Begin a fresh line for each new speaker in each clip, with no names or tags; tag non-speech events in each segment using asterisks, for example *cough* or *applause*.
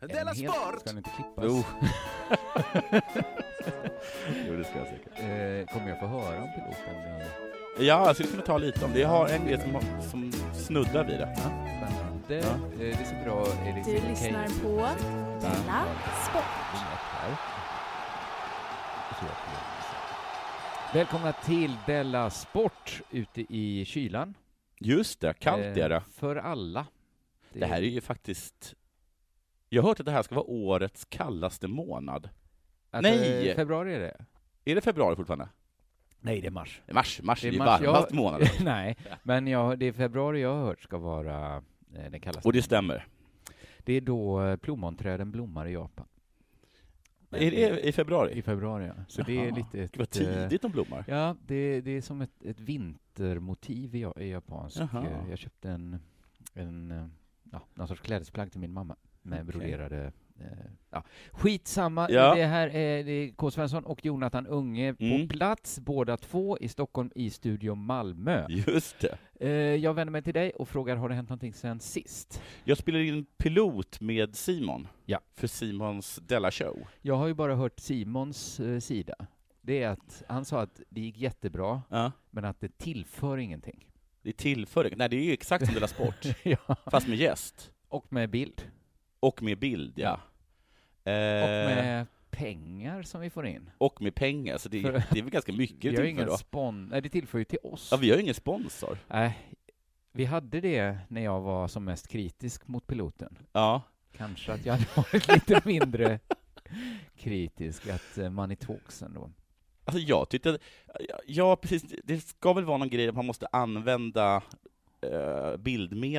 Della
hel-
Sport!
Ska den inte klippas?
Jo. jo, det ska jag säkert.
Eh, kommer jag få höra om piloten? Eh,
Ja, jag skulle kunna ta lite om det. Jag har en grej som, som snuddar vid det.
Spännande.
Ja.
Eh, det ser bra Elis
Du lyssnar på Della Sport.
Välkomna till Della Sport ute i kylan.
Just det, kallt är
Eh,
det.
För alla.
Det här är ju faktiskt... Jag har hört att det här ska vara årets kallaste månad.
Att,
Nej!
eh, Februari är det.
Är det februari fortfarande?
Nej, det är mars.
Mars, mars
Det
är
är
ju
mars, ja.
varmast månaden.
*laughs* Nej, men jag, det är februari jag har hört ska vara eh, den kallaste.
Och det stämmer.
Det är då eh, plommonträden blommar i Japan.
Är det i
I
februari?
februari, ja. Så det är
Jaha.
lite ett...
Gud, Vad
eh,
tidigt de blommar.
Ja, det, det är som ett, ett vintermotiv i, ja- i japansk.
Jaha.
eh, Jag köpte en, en eh, ja, någon sorts klädesplagg till min mamma med
Okej.
broderade eh, ja. Skitsamma,
Ja.
det här är, det är K. Svensson och Jonathan Unge
Mm.
på plats, båda två, i Stockholm i Studio Malmö.
Just det.
Eh, jag vänder mig till dig och frågar, har det hänt någonting sen sist?
Jag spelar in pilot med Simon.
Ja.
För Simons Della Show.
Jag har ju bara hört Simons eh, sida. Det är att han sa att det gick jättebra,
Ja.
men att det tillför ingenting.
Det tillför Nej, det är ju exakt som Della *laughs*
*laughs*
Sport.
ja.
fast med gäst.
Och med bild.
Och med bild, ja. Eh,
Och med pengar som vi får in.
och med pengar, så det,
För-
det är väl ganska mycket
Vi
vi
har
tillför
ingen
då.
spon... Nej, det tillför ju till oss.
Ja, vi har ju ingen sponsor.
Nej, vi hade det när jag var som mest kritisk mot piloten.
Ja.
Kanske att jag hade *laughs* varit lite mindre kritisk, att eh, man är tvåksen då.
Alltså jag tyckte, ja precis, det ska väl vara någon grej att man måste använda eh,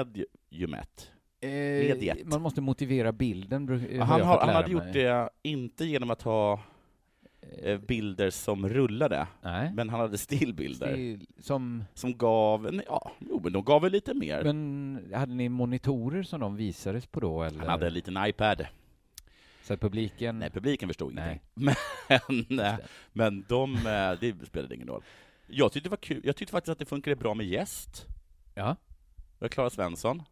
bildmediumet. Mediet.
man måste motivera bilden, bru- har
Han,
jag
har,
fått
han
lära
hade gjort
mig.
det, inte genom att ha eh, bilder som rullade,
Nej.
men han hade stillbilder
Still, som,
som gav, en- ja, jo men de gav väl lite mer.
men hade ni monitorer som de visades på då, eller?
han hade en liten iPad.
Så att publiken...
Nej, publiken förstod
Nej.
ingenting. *laughs* Men, eh, men de, eh, det spelade ingen roll. Jag tyckte, det var kul. jag tyckte faktiskt att det funkade bra med gäst.
Ja.
Det var Klara Svensson.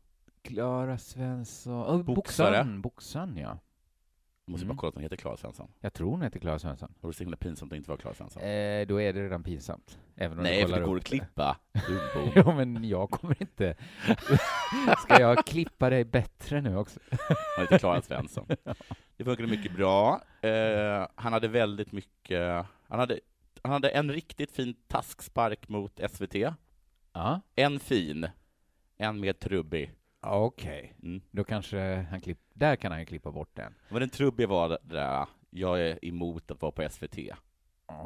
Klara Svensson... Oh,
Boxare.
boxaren, boxaren, ja.
Jag måste
Mm.
bara kolla att hon heter Klara Svensson.
Jag tror hon heter Klara Svensson.
Det vore så himla pinsamt att inte vara Klara Svensson.
Eh, då är det redan pinsamt. Även om
Nej,
du
för
kollar
det går
upp
att
*laughs*
klippa. Dumbo.
Jo, men jag kommer inte...
*laughs*
Ska jag klippa dig bättre nu också?
Hon heter Klara Svensson. Det funkade mycket bra. Eh, han hade väldigt mycket... Han hade, han hade en riktigt fin taskspark mot SVT.
Ja.
En fin, en mer trubbig.
Okej.
Mm.
Då kanske han klipp... Där kan han ju klippa bort den.
Men den trubbiga var det där, jag är emot att vara på SVT.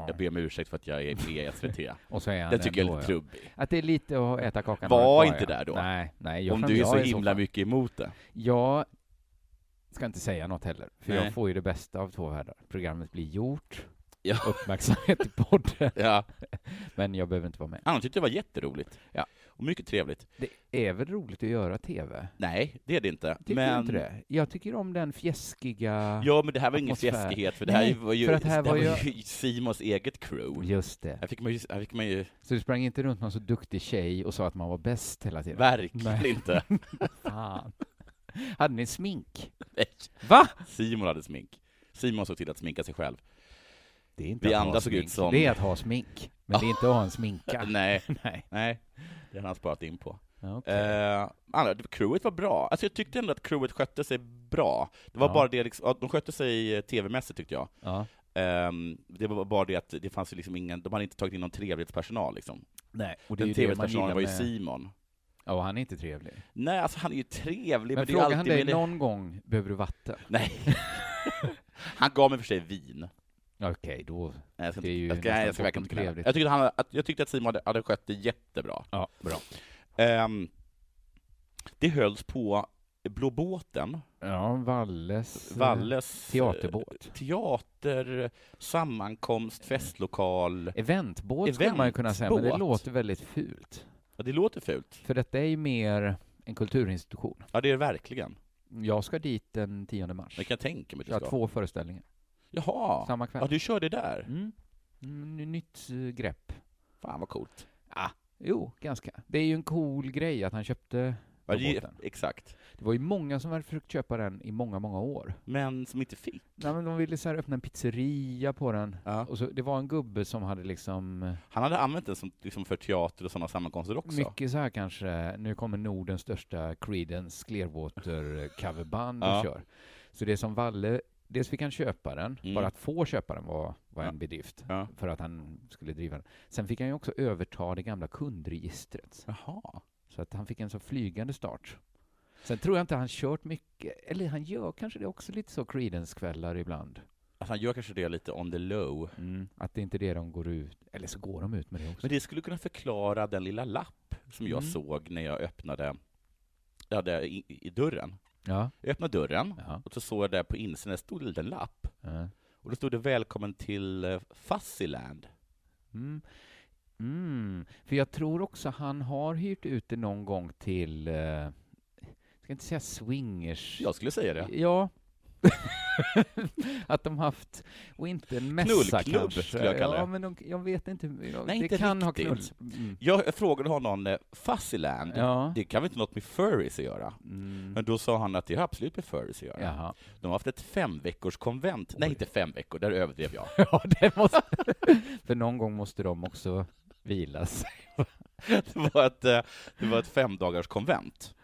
Jag ber om ursäkt för att jag är med i SVT.
Och så är han
Den tycker jag är
ändå,
lite
ja.
trubbig.
Att det är lite att äta kakan
Var
kvar,
inte
ja.
där då.
Nej, nej. Jag
Om
fram-
du är
jag
så
i
himla
fall.
mycket emot det.
Jag ska inte säga något heller, för
Nej.
jag får ju det bästa av två världar. Programmet blir gjort,
Ja.
*laughs* uppmärksamhet i podden,
Ja.
men jag behöver inte vara med.
Annars tyckte jag det var jätteroligt.
Ja.
Och mycket trevligt.
Det är väl roligt att göra TV?
Nej, det är det inte.
Tycker
men...
du inte det? Jag tycker om den fjäskiga...
Ja, men det här var ingen
Atmosfär.
fjäskighet, för det här
Nej,
var ju,
för att det här var
ju Simons eget crew.
Just det.
Här fick man ju, här fick man ju
Så du sprang inte runt någon så duktig tjej och sa att man var bäst hela tiden?
verkligen
Nej. *laughs*
inte.
Fan. *laughs* Hade ni smink?
Nej.
Va?
Simon hade smink. Simon såg till att sminka sig själv.
Det är inte
Vi
att ha
andra såg ut
smink.
som-
Det är att ha smink, men det är inte att ha en sminka.
*laughs* Nej,
Nej.
nej. Det har han sparat in på.
Ja, okej.
Eh, andra, crewet var bra. Alltså jag tyckte ändå att crewet skötte sig bra. Det var
Ja.
bara det, liksom, att de skötte sig eh, tv-mässigt tyckte jag.
ja.
Ehm, det var bara det att det fanns ju liksom ingen, de hade inte tagit in någon trevlighetspersonal liksom.
Nej, och det är
Den
ju det man gillar
trevlighetspersonalen var ju
med-
Simon.
Ja, och han är inte trevlig.
Nej, alltså han är ju trevlig, men, det
Men
är ju
frågar
alltid
han dig
med det-
någon gång, behöver du vatten?
Nej. han gav mig för sig vin.
Okej, då...
Nej, jag ska,
Det
inte,
är ju
jag ska, nej, jag ska
nästan
verkligen inte knälla.
trevligt.
jag tyckte, han, att, jag tyckte att Simon hade, hade skött det jättebra.
Ja, bra.
Ehm, det hölls på Blå båten,
Ja, Valles... eh,
Valles
Teaterbåt.
eh, teater, sammankomst, festlokal.
Eventbåt skulle man ju kunna säga, men det
Eventbåt.
låter väldigt fult.
Ja, det låter fult.
För detta är ju mer en kulturinstitution.
Ja, det är det verkligen.
Jag ska dit den 10 mars.
Det kan jag tänka mig att
Jag
du
har
ska.
två föreställningar,
Jaha,
samma kväll.
ja, du körde där.
Mm. Mm, Nytt eh, grepp.
Fan vad coolt.
Jo, ganska. Det är ju en cool grej att han köpte
Ja, det är-
roboten.
exakt.
Det var ju många som hade försökt köpa den i många, många år.
Men som inte fick.
Nej, men de ville så här öppna en pizzeria på den.
Ja.
Och så, det var en gubbe som hade liksom
Han hade använt den som, liksom för teater och sådana sammankomster också.
mycket så här kanske, nu kommer Nordens största Creedence Clearwater coverband och
Ja.
kör. Så det är som Valle, dels fick han köpa den,
Mm.
bara att få köpa den var, var
Ja.
en bedrift
Ja.
för att han skulle driva den. Sen fick han ju också överta det gamla kundregistret,
Jaha.
så att han fick en så flygande start. Sen tror jag inte han kört mycket, eller han gör kanske det också lite så Creedence-kvällar ibland.
Alltså han gör kanske det lite on the low.
Mm. Att det inte är det de går ut, eller så går de ut med det också.
Men det skulle kunna förklara den lilla lapp som jag
Mm.
såg när jag öppnade ja, där i, i dörren.
Ja.
Jag öppnade dörren
Ja.
och så såg jag där på insidan stod en liten lapp.
ja.
Och då stod det ”Välkommen till eh, Fuzzyland”.
Mm. Mm. För jag tror också han har hyrt ut det någon gång till, eh, jag ska inte säga swingers.
Jag skulle säga det.
Ja. *laughs* att de haft, och inte en mässa
Knullklubb
kanske.
skulle jag kalla
ja,
det.
men de, jag vet inte. Jag,
Nej,
det
inte
kan
riktigt.
ha knull. Mm.
Jag frågade honom eh, ”Fuzzyland”.
Ja.
Det kan väl inte något med furries att göra?
Mm.
Men då sa han att det har absolut med furries att göra. *laughs*
Jaha. *laughs*
De har haft ett femveckorskonvent. Nej,
Oj.
inte fem veckor, där överdrev jag. *laughs*
Ja, det måste... *laughs* För någon gång måste de också vilas.
Det var ett, eh, det var ett femdagarskonvent.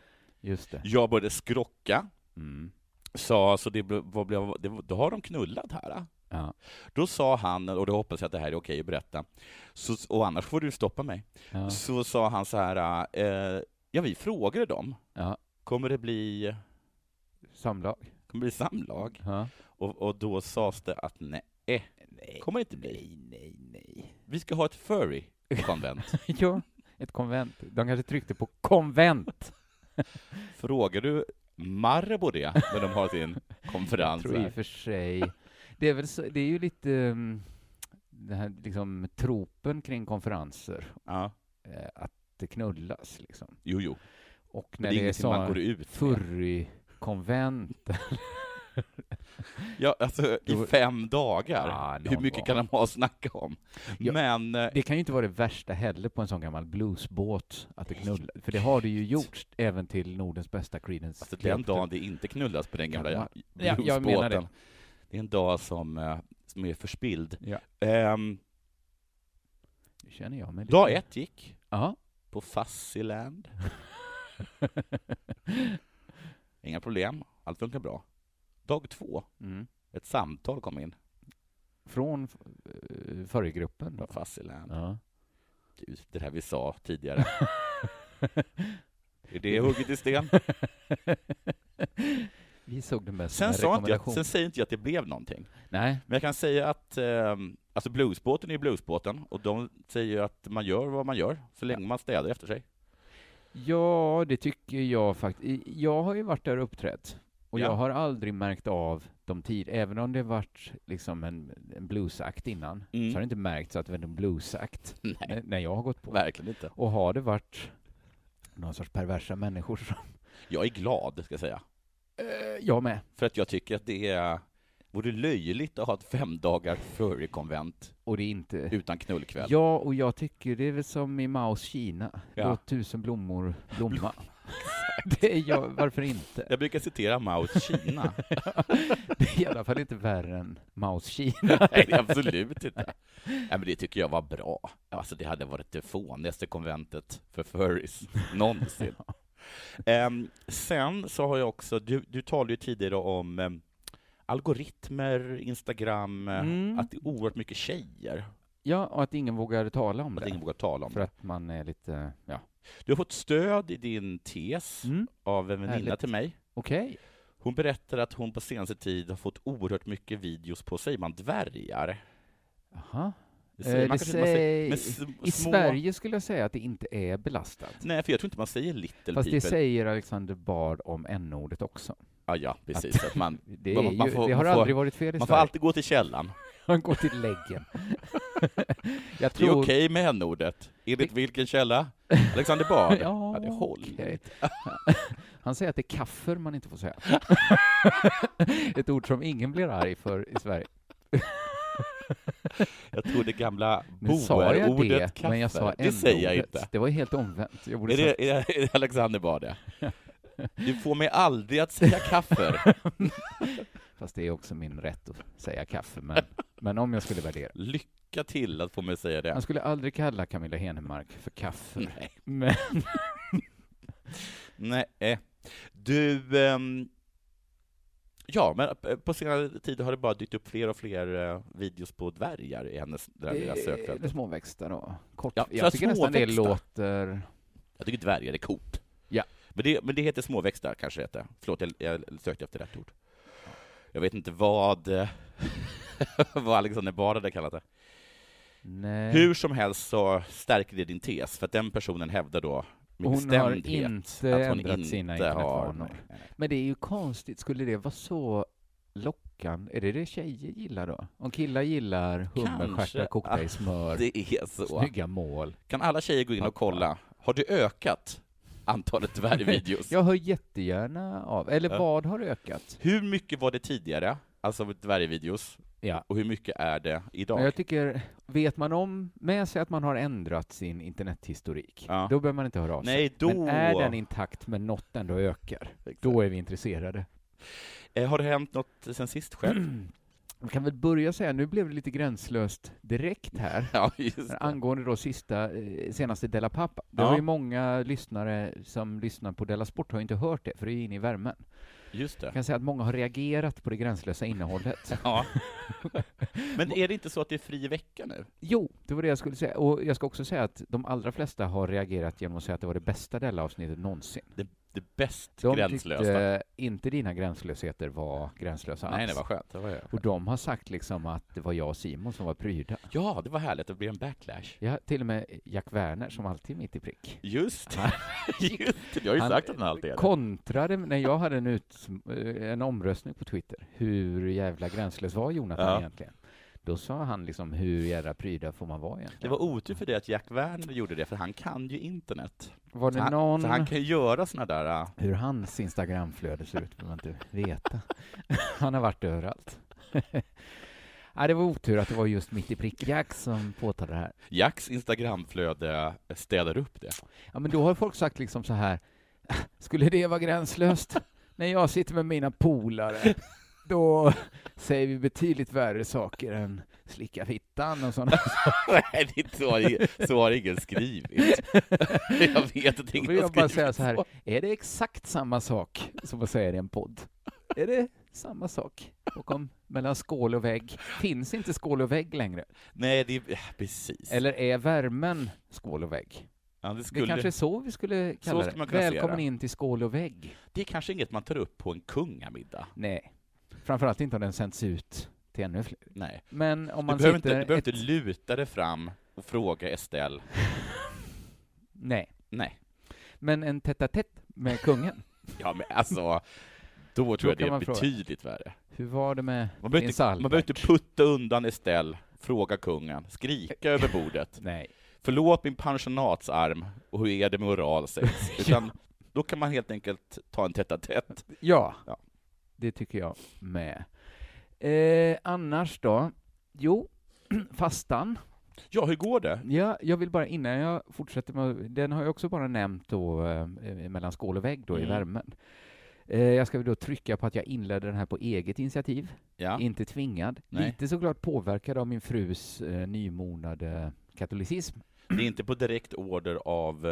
Just det.
Jag började skrocka,
Mm.
sa, så det, blev- vad blev, det, då har de knullat här. eh.
Ja.
Då sa han, och då hoppas jag att det här är okej att berätta, så, och annars får du stoppa mig,
Ja.
så sa han så här, eh, ja vi frågade dem,
Ja.
kommer det bli,
Samlag.
kommer det bli samlag?
Ja.
Och, och då sades det att nej,
Nej,
kommer det inte bli.
nej, nej, nej.
Vi ska ha ett
*laughs*
furry-konvent.
Ja, ett konvent. De kanske tryckte på konvent.
Frågar du Marabou det, när de har sin konferens
tror i
här?
och för sig. Det är, väl så, det är ju lite um, den här liksom, tropen kring konferenser,
Ja,
eh, att det knullas liksom.
jo, jo.
Och
Men
när
det är
det är
ingenting man går
så
ut med.
furry-konvent,
Ja, alltså i
Då-
fem dagar.
Ah,
Hur
någon
mycket
gång.
kan de ha att snacka om?
Ja.
Men eh,
det kan ju inte vara det värsta heller på en sån gammal bluesbåt, att det knullar. För det har det ju gjorts även till Nordens bästa Creedence.
alltså, den dagen det inte knullas på den gamla
Ja,
ja,
jag menar det.
det är en dag som, eh, som är förspild.
Ja.
Ehm,
Nu känner jag mig lite-
dag ett gick
Ja.
på
*laughs*
Fuzzyland. Inga problem, allt funkar bra. Dag två,
Mm.
ett samtal kom in.
Från uh, förgruppen då?
Fuzzyland.
Ja.
Du, Det här vi sa tidigare. är det hugget i sten?
*laughs* Vi såg den bästa
Sen, sa inte jag,
rekommendation.
sen säger inte jag att det blev någonting.
Nej,
Men jag kan säga att eh, alltså bluesbåten är ju bluesbåten, och de säger ju att man gör vad man gör, så länge man städar efter sig.
ja det tycker jag faktiskt. Jag har ju varit där och uppträtt och
Ja.
jag har aldrig märkt av de tid, även om det varit liksom en, en bluesakt innan,
Mm.
så har det inte märkts att det var en bluesakt
Nej,
när, när jag har gått på.
verkligen inte.
Och har det varit någon sorts perversa människor som...
Jag är glad, ska jag säga,
Eh, jag med.
för att jag tycker att det är vore löjligt att ha ett fem dagar furry-konvent
Och det är inte...
utan knullkväll.
Ja, och jag tycker det är väl som i Maos Kina.
Ja.
Låt tusen blommor
*laughs*
blomma. *laughs* det är jag, varför inte?
Jag brukar citera Maos
*laughs*
Kina.
Det är i alla fall inte värre än Maos Kina.
*laughs* Nej, det är absolut inte. Nej, men det tycker jag var bra. Alltså, det hade varit det fånigaste konventet för furries
*laughs*
någonsin. Ehm, sen så har jag också, du, du talade ju tidigare om em, algoritmer, Instagram, eh,
Mm.
att det är oerhört mycket tjejer,
Ja, och att ingen vågar tala om
att
det.
ingen vågar tala om
För
det.
att man är lite, ja.
Du har fått stöd i din tes
Mm.
av en väninna
Härligt.
till mig.
Okej.
Hon berättar att hon på senaste tid har fått oerhört mycket videos på, säger man dvärgar?
Jaha.
Det säger
Eh,
man
det
kanske inte, man säger-
säg-
men s-
I
små-
Sverige skulle jag säga att det inte är belastat.
Nej, för jag tror inte man säger little
Fast
people. Ah,
det säger Alexander Bard om n-ordet också.
Ja, ja precis. Att
*laughs*
man,
Det,
Man-
är ju,
man får-
det har
man får-
aldrig varit fel
man
i
får
Sverige.
alltid gå till källan.
Man går
*laughs*
till läggen. jag
Det är
tror...
okej med n-ordet. Enligt vilken källa?
*laughs*
Alexander Bard?
Ja,
det är håll.
okej. *laughs* Han säger att det är kaffer man inte
*laughs*
får säga. Ett ord som ingen blir arg för i Sverige.
Jag tror det gamla
Men sa jag
boerordet
det?
kaffe.
Men jag sa
det säger jag
n-ordet.
inte.
Det var ju helt omvänt. Jag borde
Är det, är det, är det Alexander Bard, ja?
*laughs*
Du får mig aldrig att säga kaffe.
sagt- Fast det är också min rätt att säga kaffe, men, men om jag skulle värdera.
Lycka till att få mig att säga det.
Man skulle aldrig kalla Camilla Henemark för kaffe.
Nej.
Men
Nej. eh. Du, ehm, ja, men eh, på senare tid har det bara dykt upp fler och fler eh, videos på dvärgar i hennes det där lilla sökfält.
det är småväxter och kort.
Ja, för
jag tycker nästan det
småväxter.
låter...
Jag tycker dvärgar är coolt.
Ja.
Men det, men det heter småväxter, kanske det heter. Förlåt, jag, jag sökte efter rätt ord. Jag vet inte vad, eh, *laughs* vad Alexander Bard hade kallat det.
Nej.
Hur som helst så stärker det din tes, för att den personen hävdar då med
Hon har
bestämdhet
inte
att hon
ändrat
inte
sina
har...
internetvanor. Men det är ju konstigt, skulle det vara så lockan? Är det det tjejer gillar då? Om killar gillar hummerstjärtar
Kanske.
kokta i smör,
Det är så.
snygga mål.
Kan alla tjejer gå in och kolla, har du ökat
*laughs*
antalet dvärgvideos?
Jag hör jättegärna av, eller
Ja.
vad har ökat?
Hur mycket var det tidigare, alltså dvärgvideos,
Ja.
och hur mycket är det idag?
Men jag tycker, vet man om med sig att man har ändrat sin internethistorik,
Ja.
då behöver man inte höra av sig.
Nej, då...
Men är den intakt men något ändå ökar, då är vi intresserade.
Eh, Har det hänt något sen sist
*clears throat*
själv?
Vi kan väl börja säga, nu blev det lite gränslöst direkt här.
ja, just det.
Angående då sista, eh, senaste Della Pappa. Det
Ja.
har ju många lyssnare som lyssnar på Della Sport har ju inte hört det, för det är ju inne i värmen.
Just det.
Jag kan säga att många har reagerat på det
*laughs*
gränslösa innehållet.
Ja. Men är det inte så att det är fri vecka nu?
Jo, det var det jag skulle säga. Och jag ska också säga att de allra flesta har reagerat genom att säga att det var det bästa Della-avsnittet någonsin.
Det, det bäst
De
gränslösa?
tyckte inte dina gränslösheter var gränslösa
Nej,
alls.
det var skönt. Det var jag.
Och de har sagt liksom att det var jag och Simon som var pryda.
Ja, det var härligt. Det blev en backlash.
Ja, till och med Jack Werner som alltid är mitt i prick.
Just det. *laughs* Just det. Jag har ju
Han-
sagt att den alltid är det.
kontrade när jag hade en, ut, eh, en omröstning på Twitter. Hur jävla gränslös var Jonathan
Ja.
egentligen? Då sa han liksom hur jävla pryda får man vara
Det
egentligen?
var otur för dig att Jack Werner gjorde det, för han kan ju internet.
Var
Så
det
han,
någon...
så han kan ju göra såna där... ah,
Hur hans Instagramflöde ser ut behöver man inte veta. *laughs* Han har varit överallt. *laughs* Ja, det var otur att det var just mitt i prick Jack som påtalade det här.
Jacks Instagramflöde städar upp det.
Ja, men då har folk sagt liksom så här, *laughs* skulle det
*laughs*
vara gränslöst? När jag sitter med mina polare, då säger vi betydligt värre saker än slicka fittan
*laughs*
och sådana
*laughs* Nej, det är så, har ingen- så har ingen *laughs* skrivit. jag vet att
Då
ingen
vill
har
jag bara
skrivit
säga så här,
så.
är det exakt samma sak som att säga det i en podd? Är det samma sak? Och om mellan skål och vägg, finns inte skål och vägg längre?
Nej, det är... ja, Precis.
Eller är värmen skål och vägg?
ja, det,
Det
skulle,
kanske är så vi skulle
Så
kalla
skulle
det.
man kunna se
Välkommen
det.
in till skål och vägg.
det är kanske inget man tar upp på en kungamiddag.
Nej, framförallt inte om den sänds ut till ännu fler.
Nej.
Men om man
du behöver,
sitter...
inte, du behöver
ett-
inte luta dig fram och fråga Estelle.
Nej,
Nej.
men en tätt med
*laughs*
kungen.
Ja, men alltså, då tror jag det
kan
är
man fråga.
betydligt värre.
Hur var det med
Man behöver,
prins
inte, man
Albert?
behöver inte putta undan Estelle, fråga kungen, skrika
Eh.
över bordet.
Nej.
Förlåt min pensionatsarm, och hur är det med oral sex? *laughs* Utan, Då kan man helt enkelt ta en tätt tätt.
Ja,
Ja.
det tycker jag med. Eh, annars då? Jo, *clears throat* fastan.
Ja, hur går det?
Ja, jag vill bara innan jag fortsätter med, den har jag också bara nämnt då eh, mellan skål och vägg då i
Mm.
värmen. Eh, jag ska väl då trycka på att jag inledde den här på eget initiativ.
Ja.
Inte tvingad.
Nej.
Lite såklart påverkad av min frus eh, nymonade katolicism.
Det är inte på direkt order av, eh,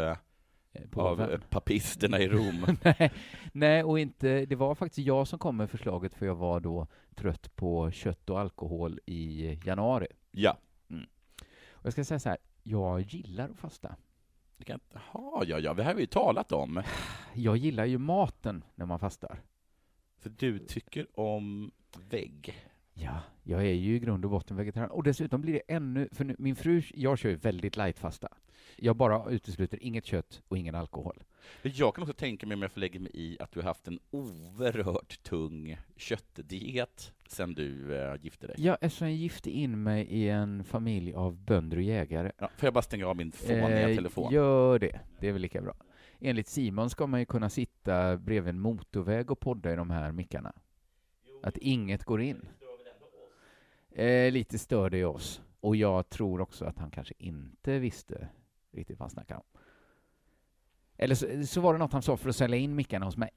eh,
av eh,
påven.
papisterna i *laughs* Rom.
*laughs* Nej, nej, och inte, det var faktiskt jag som kom med förslaget för jag var då trött på kött och alkohol i januari.
Ja.
Och jag ska säga så här, jag gillar att fasta. *sighs*
Det kan- Jaha, ja, ja, det här har vi ju talat om.
Jag gillar ju maten när man fastar.
För du tycker om vägg.
Ja, jag är ju i grund och botten vegetarian. Och dessutom blir det ännu, för nu, min fru, jag kör ju väldigt light-fasta. Jag bara utesluter inget kött och ingen alkohol.
Men Jag kan också tänka mig, om jag får lägga mig i, att du har haft en oerhört tung köttdiet sen du eh, gifte dig.
Jag, eftersom jag gifte in mig i en familj av bönder och jägare
Ja, får jag bara stänga av min fåniga
Eh,
telefon?
Gör det, det är väl lika bra. Enligt Simon ska man ju kunna sitta bredvid en motorväg och podda i de här mickarna. Att inget går in. Eh, lite stör det oss. Och jag tror också att han kanske inte visste riktigt vad han snackade om. Eller så, så var det något han sa för att sälja in mickarna hos mig.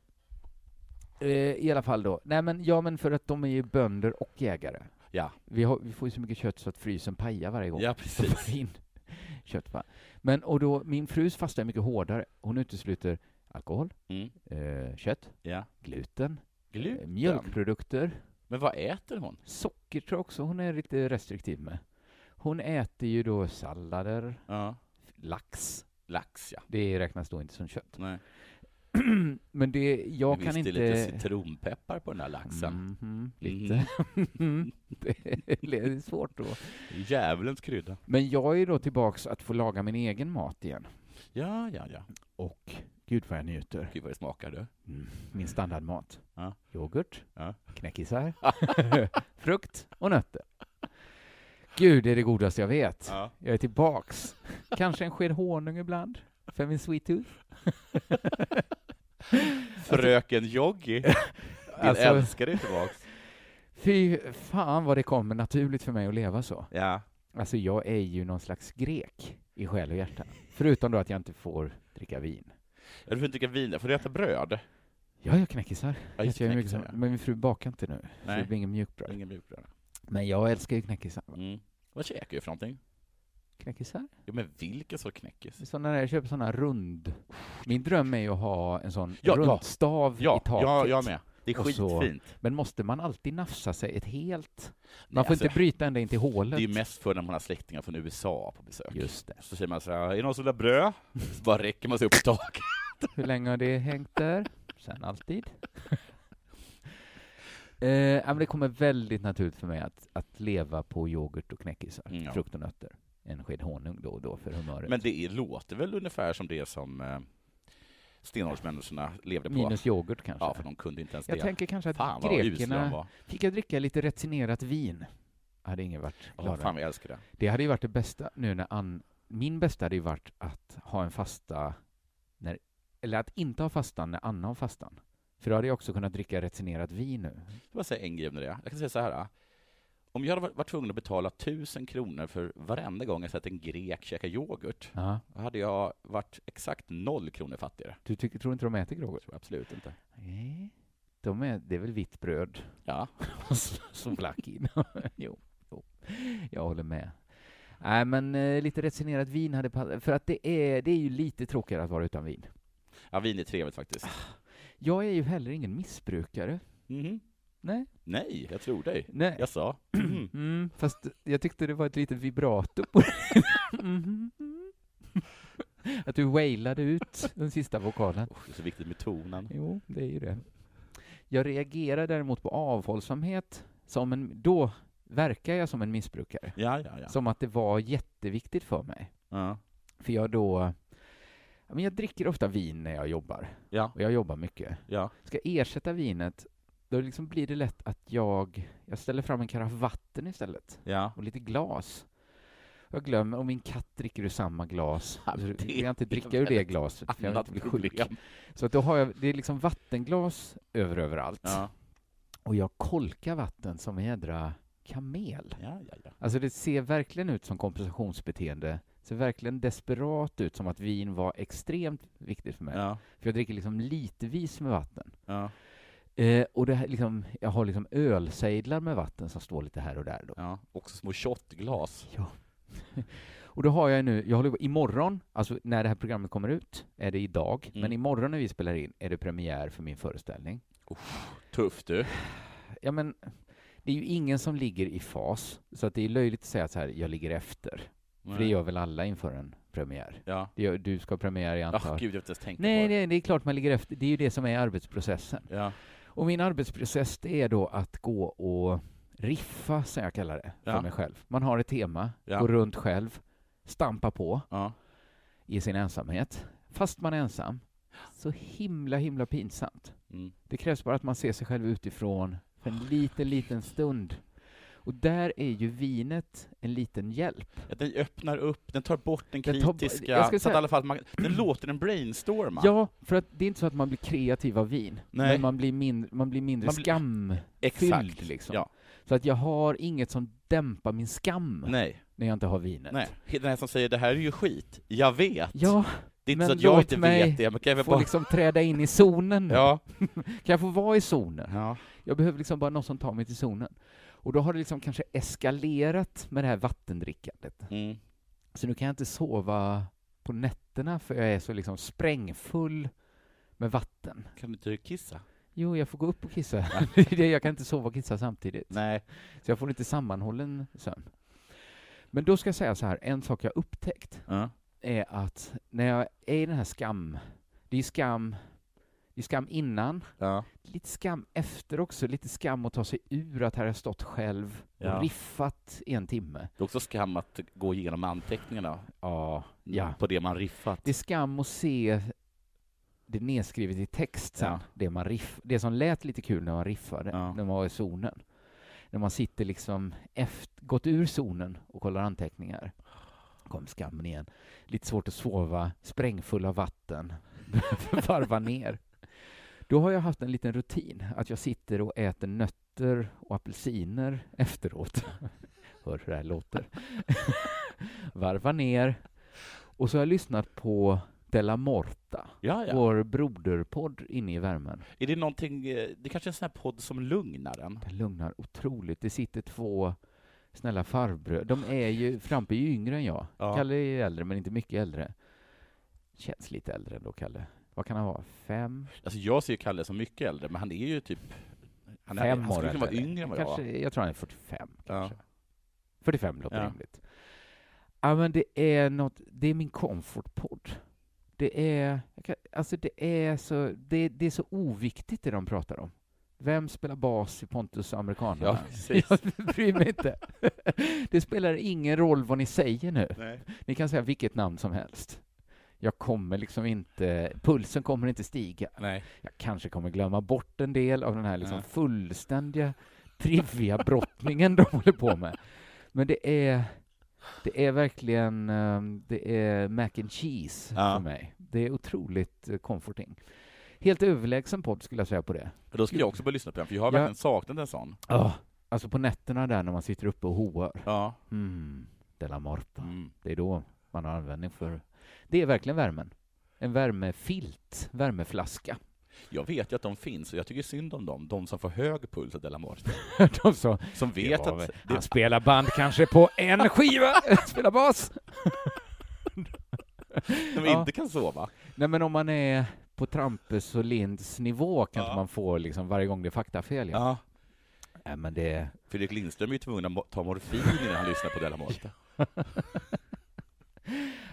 Eh, I alla fall då. Nej men, ja men för att de är ju bönder och jägare.
Ja.
Vi, har, vi får ju så mycket kött så att frysen pajar varje gång.
Ja,
Så
precis.
får vi in kött va? Men och då, min frus fasta är mycket hårdare. Hon utesluter alkohol,
Mm.
eh, kött,
Ja.
gluten, eh,
Gluten.
mjölkprodukter,
Men vad äter hon?
socker tror jag också hon är lite restriktiv med. Hon äter ju då sallader,
Ja.
lax.
Lax, ja.
Det räknas då inte som kött.
Nej.
Men det, jag
Visst,
kan
det
inte...
är lite citronpeppar på den här laxen.
Mhm,
Mm.
lite. *laughs* det är svårt då.
Djävulens krydda.
Men jag är då tillbaks att få laga min egen mat igen.
Ja, ja, ja.
Och gud vad jag njuter.
Gud vad det smakar du.
Mm, min standardmat.
Ja.
Yoghurt,
*laughs* Ja.
knäckisar, *laughs* frukt och nötter. Gud, det är det godaste jag vet.
Ja.
Jag är tillbaks. Kanske en sked honung ibland, för min sweet tooth.
Alltså- Fröken Joggi. Din
Alltså-
älskare är tillbaks.
Fy fan vad det kommer naturligt för mig att leva så.
Ja.
Alltså, jag är ju någon slags grek i själ och hjärta. Förutom då att jag inte får dricka vin.
Du får inte dricka vin, får du äta bröd?
Ja, jag knäckisar.
Ja, just
Äter jag hur mycket
knäckisar,
som- Men min fru bakar inte nu, så
Nej.
det blir ingen mjukbröd.
Ingen mjukbröd.
Men jag älskar ju knäckisar.
Mm. Vad käkar du för någonting?
Knäckisar?
Jo, men vilken sorts knäckis?
Såna där, jag köper såna rund. Min dröm är ju att ha en sån
Ja, ja.
rundstav
Ja,
i taket.
jag, jag med. Det är
Och så-
skitfint.
Men måste man alltid nafsa sig ett helt? Man
Nej,
får
alltså,
inte bryta ända in till hålet.
det är ju mest för när man har släktingar från USA på besök.
Just det.
Så säger man så här, är det någon som vill ha *laughs* bröd? Så bara räcker man sig upp i taket.
Hur länge har det hängt där?
*laughs*
Sen alltid. eh, ja, men det kommer väldigt naturligt för mig att, att leva på yoghurt och knäckisar,
Mm, ja.
frukt och nötter. En sked honung då och då för humöret.
Men det är, låter väl ungefär som det som eh, stenåldersmänniskorna levde på.
Minus yoghurt kanske.
ja, för de kunde inte ens
jag
det.
tänker kanske att
Fan vad usla de
grekerna...
var.
Fick jag dricka lite retinerat vin? Hade ingen varit
Ja,
gladare.
fan vad jag älskar det.
Det hade ju varit det bästa nu när Ann... Min bästa hade ju varit att ha en fasta... När, eller att inte ha fastan när Anna har fastan. För då hade jag också kunnat dricka retinerat vin nu.
Jag vill bara säga en grej om det. Jag kan säga så här. ah. Om jag hade varit- varit tvungen att betala tusen kronor för varenda gång jag sett en grek käka yoghurt,
Ja.
då hade jag varit exakt noll kronor fattigare.
Du tycker, tror inte de äter
Jag
yoghurt?
tror absolut inte.
Nej. De är, det är väl vitt bröd *laughs*
Ja.
som flack *laughs* in. jo, jo, jag håller med. Nej, men eh, lite retinerat vin hade passat. För att det är, det är ju lite tråkigare att vara utan vin.
ja, vin är trevligt faktiskt.
Ah. Jag är ju heller ingen missbrukare.
Mhm.
Nej.
Nej, jag tror dig.
Nej.
Jag
*clears throat*
sa.
Mm, fast jag tyckte det var ett litet *laughs* vibrato på Mhm. Att du wailade ut den sista vokalen.
Oh, det är så viktigt med tonen.
Jo, det är ju det. Jag reagerar däremot på avhållsamhet. Som en, då verkar jag som en missbrukare.
Ja, ja, ja.
Som att det var jätteviktigt för mig.
Ja.
För jag då... ja, Men jag dricker ofta vin när jag jobbar.
Ja.
Och jag jobbar mycket.
ja.
Ska jag ersätta vinet, då liksom blir det lätt att jag, jag ställer fram en karaff vatten istället
ja.
och lite glas. Jag glömmer, och min katt dricker ur samma glas.
Ja,
Så
det
vill jag inte
är
dricka ur det
väldigt
glaset, för jag vill
Annat
inte bli sjuk.
problem.
Så att då har jag, det är liksom vattenglas över överallt.
Ja.
Och jag kolkar vatten som en jädra kamel.
Ja, ja, ja.
Alltså det ser verkligen ut som kompensationsbeteende. Ser verkligen desperat ut, som att vin var extremt viktigt för mig.
Ja.
För jag dricker liksom litevis med vatten.
Ja.
Eh, och det här liksom, jag har liksom ölsejdlar med vatten som står lite här och där. Då.
ja. Också små shotglas.
Ja. Och då har jag nu, jag håller på, imorgon, alltså när det här programmet kommer ut, är det idag,
Mm.
men imorgon när vi spelar in är det premiär för min föreställning.
Tufft du.
Ja men, det är ju ingen som ligger i fas, så att det är löjligt att säga så här, jag ligger efter. För det gör väl alla inför en premiär.
Ja.
Det gör, du ska ha premiär, jag
Ah,
antar.
gud, jag har inte ens tänkt
nej,
på det.
nej, det är klart man ligger efter, det är ju det som är arbetsprocessen.
Ja.
Och min arbetsprocess, det är då att gå och riffa, som jag kallar det, för
Ja.
mig själv. Man har ett tema,
Ja.
går runt själv, stampa på.
Ja.
i sin ensamhet, fast man är ensam. Så himla, himla pinsamt.
Mm.
Det krävs bara att man ser sig själv utifrån för en liten, liten stund. Och där är ju vinet en liten hjälp.
Att Den öppnar upp, den tar bort den
Den tar bo-
kritiska,
jag ska
så att
säga-
i alla fall man, den låter den brainstorma.
Ja, för att det är inte så att man blir kreativ av vin,
Nej.
men man blir, min, man blir mindre
Man blir-
skamfylld.
Exakt.
Liksom.
Ja.
Så att jag har inget som dämpar min skam.
Nej.
när jag inte har vinet.
Nej, den här som säger det här är ju skit, jag vet.
Ja,
det är inte
men
så att jag
låt
inte
mig
vet det, men kan jag väl
får
bara...
liksom träda in i zonen.
Ja.
Kan jag få vara i zonen?
ja.
Jag behöver liksom bara någon som tar mig till zonen. Och då har det liksom kanske eskalerat med det här vattendrickandet.
Mm.
Så nu kan jag inte sova på nätterna för jag är så liksom sprängfull med vatten.
Kan du inte kissa?
Jo, jag får gå upp och kissa. *laughs* Det är det, jag kan inte sova och kissa samtidigt.
Nej.
Så jag får inte sammanhållen sömn. Men då ska jag säga så här, en sak jag upptäckt
Ja.
är att när jag är i den här skam, det är skam, det är skam innan,
Ja.
lite skam efter också, lite skam att ta sig ur att här har jag stått själv och
Ja.
riffat i en timme.
Det är också skam att gå igenom anteckningarna
Ja, ja.
på det man riffat.
Det är skam att se det nedskrivet i text sen,
Ja.
det, man riff, det som lät lite kul när man riffade,
Ja.
när man var i zonen. När man sitter liksom efter, gått ur zonen och kollar anteckningar. Kom skammen igen. Lite svårt att sova, sprängfull av vatten, *laughs* behöver varva ner. Då har jag haft en liten rutin, att jag sitter och äter nötter och apelsiner efteråt. *laughs* Hör hur det här låter. *laughs* Varva ner. Och så har jag lyssnat på Della Morta,
Ja, ja.
vår broderpodd inne i värmen.
Är det någonting, eh, det kanske är en sån här podd som lugnar en?
Det lugnar otroligt. Det sitter två snälla farbröder. De är ju, Frampe är ju yngre än jag.
Ja.
Kalle är ju äldre, men inte mycket äldre. Känns lite äldre ändå, Kalle. Vad kan han vara? Fem?
Alltså jag ser ju Kalle som mycket äldre, men han är ju typ... Han, är,
Fem
han skulle
år
kunna vara
äldre.
yngre än vad jag
kanske,
var.
Jag tror han är 45,
Ja.
kanske. 45 låter
Ja.
rimligt. Ja, men det är något, det är min comfortpodd. Det är, jag kan, alltså det är så, det, det är så oviktigt det de pratar om. Vem spelar bas i Pontus och amerikanerna?
Ja, precis.
*laughs* Jag bryr mig inte. Det spelar ingen roll vad ni säger nu.
Nej.
Ni kan säga vilket namn som helst. Jag kommer liksom inte, pulsen kommer inte stiga.
Nej.
Jag kanske kommer glömma bort en del av den här liksom
Ja.
fullständiga trivia-brottningen de håller på med. Men det är, det är verkligen ehm, det är mac and cheese
Ja.
för mig. Det är otroligt eh, comforting. Helt överlägsen podd skulle jag säga på det.
Men Då ska jag också börja lyssna på den, för jag har
Ja.
verkligen saknat en sån.
Oh. Alltså på nätterna där när man sitter uppe och hoar.
Ja.
Mm, Della Morta.
Mm.
Det är då man har användning för... Det är verkligen värmen. En värmefilt, värmeflaska. *laughs*
Jag vet ju att de finns, och jag tycker synd om dem, de som får hög puls av Della
*laughs*
Morte.
De sa,
Som vet
var
att...
väl-
Det,
han spelar band kanske på en skiva, *laughs* spelar bas.
de
ja.
inte kan sova.
Nej men om man är på Trampus och Linds nivå kanske
Ja.
man får liksom varje gång det är faktafel. Ja.
Ja.
Nej men det...
Fredrik Lindström är ju tvungen att mo- ta morfin innan han lyssnar på Della Morte.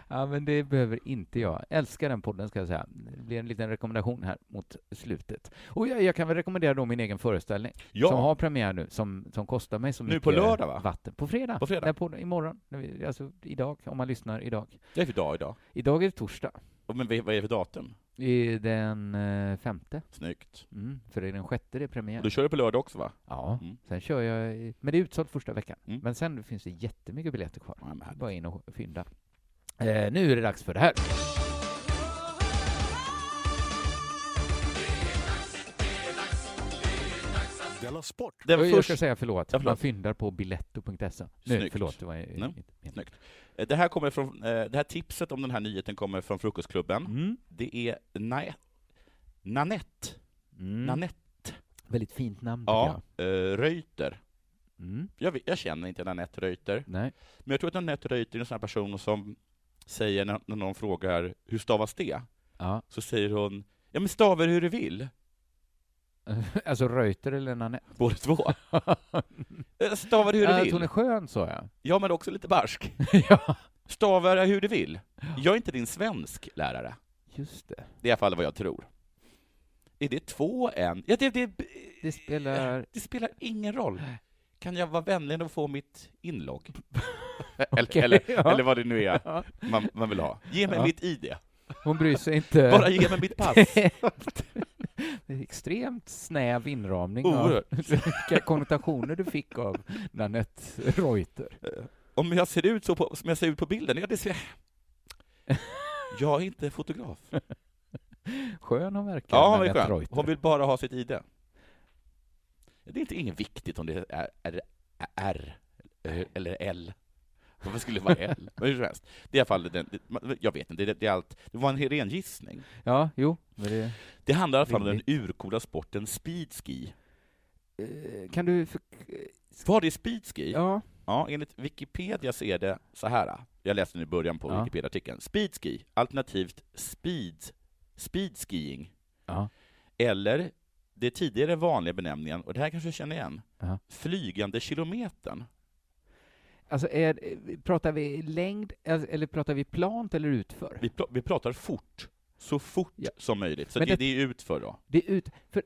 Ja men det behöver inte jag. Älskar den podden ska jag säga. Det blir en liten rekommendation här mot slutet. Och jag, jag kan väl rekommendera då min egen föreställning. som
Ja,
har premiär nu, som, som kostar mig så
Nu
mycket
på lördag, va?
vatten. På fredag.
På fredag.
När podden- imorgon. När vi, alltså idag, om man lyssnar idag.
det är för dag idag.
Idag är det torsdag.
Och Men vad är- vad är det för datum?
Det är Den eh, femte.
Snyggt.
Mm, för det är den sjätte det är premiär.
Och Du kör ju på lördag också va?
Ja.
Mm.
Sen kör jag, i- men det är utsålt första veckan.
Mm.
Men sen finns det jättemycket biljetter kvar.
Ja, men härligt.
Bara in och fynda. Eh, nu är det dags för det här.
Della Sport!
Den
Oj, Jag ska
första,
säga förlåt.
Ja, förlåt.
Man fyndar på biletto.se. Nu,
Snyggt. Mm.
förlåt. Det var ju-
Nej.
inte meningen.
Snyggt. det, här kommer från, eh, det här tipset om den här nyheten kommer från Frukostklubben.
Mm.
Det är Na- Nanette.
Mm.
Nanette
Väldigt fint namn, tycker
ja, eh, Reuter.
jag. Mm.
Jag, vet, jag känner inte Nanette Reuter,
Nej.
men jag tror att Nanette Reuter är en sån här person som säger när, när någon frågar ”Hur stavas det?”
Ja.
så säger hon ”Ja men stava det hur du vill,
*laughs* alltså Reuter eller Nanette?
båda
*laughs*
två. Eh, stava det hur du
Att hon är
vill.”
skön, sa jag.
Ja, men också lite barsk.
*laughs* ja.
Stava det hur du vill. Jag är inte din svensk lärare.
Just det.
Det är i alla fall vad jag tror. Är det två än? Ja, det, det, eh,
Det spelar...
det spelar ingen roll. Kan jag vara vänlig och få mitt inlogg? eller,
*laughs* Okej,
eller,
ja.
eller vad det nu är
Ja.
man, man vill ha. Ge mig
Ja.
mitt ID.
Hon bryr sig
*laughs*
inte.
Bara ge mig mitt pass.
*laughs* Det är extremt snäv inramning av
Oerhört.
vilka konnotationer du fick av Nanette Reuter.
Om jag ser ut så på, som jag ser ut på bilden, ja det ser... Jag är inte fotograf.
Skön hon verkar,
Ja, hon är
Nanette
skön.
Reuter.
Hon vill bara ha sitt ID. Det är inte inget viktigt om det är R, R eller L. Varför skulle det vara L? Men hur som helst, det är i alla fall, den, det- jag vet inte, det, det, är allt, det var en ren gissning.
Ja, jo. Men det,
Det handlar i alla fall om den urcoola sporten speedski.
eh, kan du... För,
Vad är speedski? Ja.
ja.
enligt Wikipedia så är det så här. Jag läste den i början på
Ja.
Wikipedia-artikeln. Speedski, alternativt speed, speedskiing.
Ja.
Eller det tidigare vanliga benämningen, och det här kanske du känner igen,
Ja.
flygande kilometern.
Alltså, är, pratar vi längd, alltså, eller pratar vi plant eller utför?
Vi, pr- vi pratar fort, så fort
Ja.
som möjligt. Så
Men
det,
det-
det är utför då.
Det är ut, för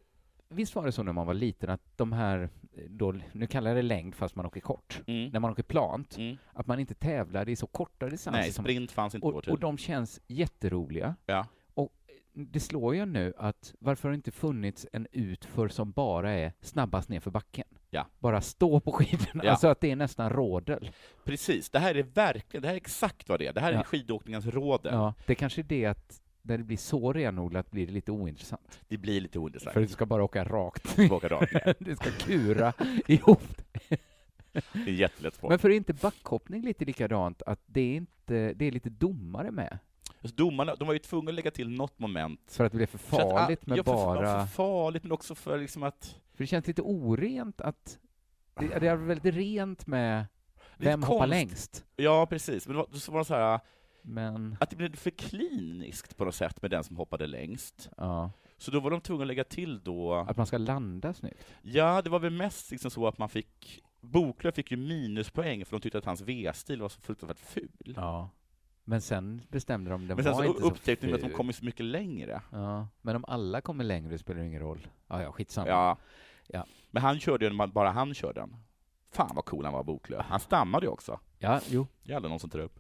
visst var det så när man var liten att de här, eh, då, nu kallar jag det längd fast man åker kort,
Mm.
när man åker plant,
Mm.
att man inte tävlar i så korta distanser.
Nej,
som-
sprint fanns inte typ. på vår
och,
tid.
och de känns jätteroliga.
Ja.
Och eh, det slår ju nu att varför har det inte funnits en utför som bara är snabbast nerför backen?
Ja.
Bara stå på skidorna,
Ja.
alltså att det är nästan rådel.
Precis, det här är verkligen, det här är exakt vad det är. Det här är
Ja.
skidåkningens råd.
Ja, det kanske är det att när det blir så renodlat blir det lite ointressant.
Det blir lite ointressant.
För du ska bara åka rakt.
Tillbaka rakt ner.
*laughs* du ska kura ihop
Det är en jättelätt sport.
Men för är inte backhoppning lite likadant, att det är, inte, det är lite domare med?
Alltså, domarna, de var ju tvungna att lägga till något moment.
För att det blir för
För att, ah,
farligt med
ja, för,
bara...
För farligt, men också för liksom att...
För det känns lite orent att... Det, det är väldigt rent med
Lite
vem hoppar
konst.
längst,
Ja, precis. Men det var, så var det så här, ah,
men...
att det blev för kliniskt på något sätt med den som hoppade längst.
Ja,
Så då var de tvungna att lägga till då...
att man ska landa snyggt.
Ja, det var väl mest liksom så att man fick... Boklöv fick ju minuspoäng för de tyckte att hans V-stil var så fruktansvärt ful.
Ja. Men sen bestämde de, den
Men sen
var
så
inte så
upptäckte de att de
ful.
kom ju så mycket längre.
Ja, men om alla kommer längre spelar det ingen roll. Ja, ja, skitsamma.
Ja.
Ja.
Men han körde ju, när man- bara han körde den. Fan vad cool han var, Boklöv. Han stammade ju också.
ja jo.
Jävlar, någon som tar upp.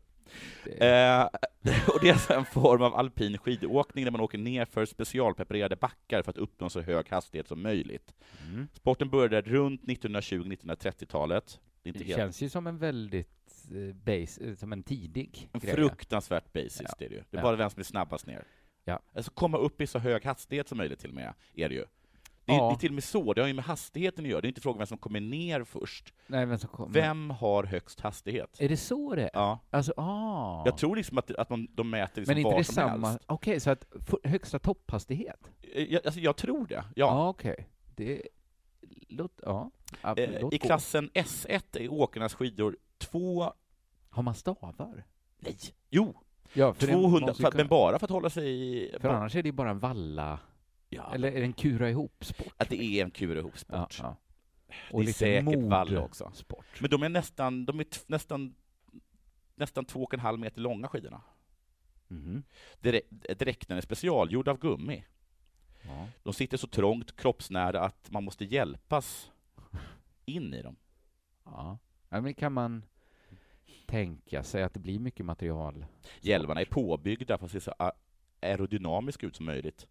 Det,
Eh, *laughs* och det är alltså en form av alpin skidåkning där man åker ner för specialpreparerade backar för att uppnå så hög hastighet som möjligt.
mm.
Sporten började runt 1920-1930-talet. Det är inte
det
helt...
känns ju som en väldigt eh, base, eh, som en tidig
En
grej.
fruktansvärt basis
Ja.
det är det ju. Det är
Ja.
bara vem som är snabbast ner.
Ja.
Alltså komma upp i så hög hastighet som möjligt till och med, är det ju. Det är,
Ja.
det är till och med så, det har ju med hastigheten att göra. Det är inte frågan vem som kommer ner först.
Nej, men så kommer...
Vem har högst hastighet?
Är det så det är?
Ja.
Alltså, ah.
Jag tror liksom att, att man, de mäter liksom
Men inte
var
det
som
samma?
helst.
Okej, så att f- högsta topphastighet?
Eh, Jag, alltså, jag tror det,
Ja,
ja.
okej. Det... Låt, ja. Ja,
Eh,
låt
I
gå.
klassen S1 är åkarnas skidor två...
Har man stavar?
Nej! Jo!
Ja, för det
200,
måste ju
för,
kunna-
men bara för att hålla sig... i-
För annars är det ju bara en valla,
ja,
eller är det en kura ihop-sport?
Att det är en kul ihopsport.
ja.
Det är säkert valla också.
Sport.
Men de är nästan, de är t- nästan, nästan två och en halv meter långa skidorna.
Mhm.
Direk- Dräkten är specialgjord av gummi.
Ja.
De sitter så trångt kroppsnära att man måste hjälpas in i dem.
Ja. ja, men kan man tänka sig att det blir mycket material?
Hjälmarna är påbyggda för att se så a- aerodynamiska ut som möjligt.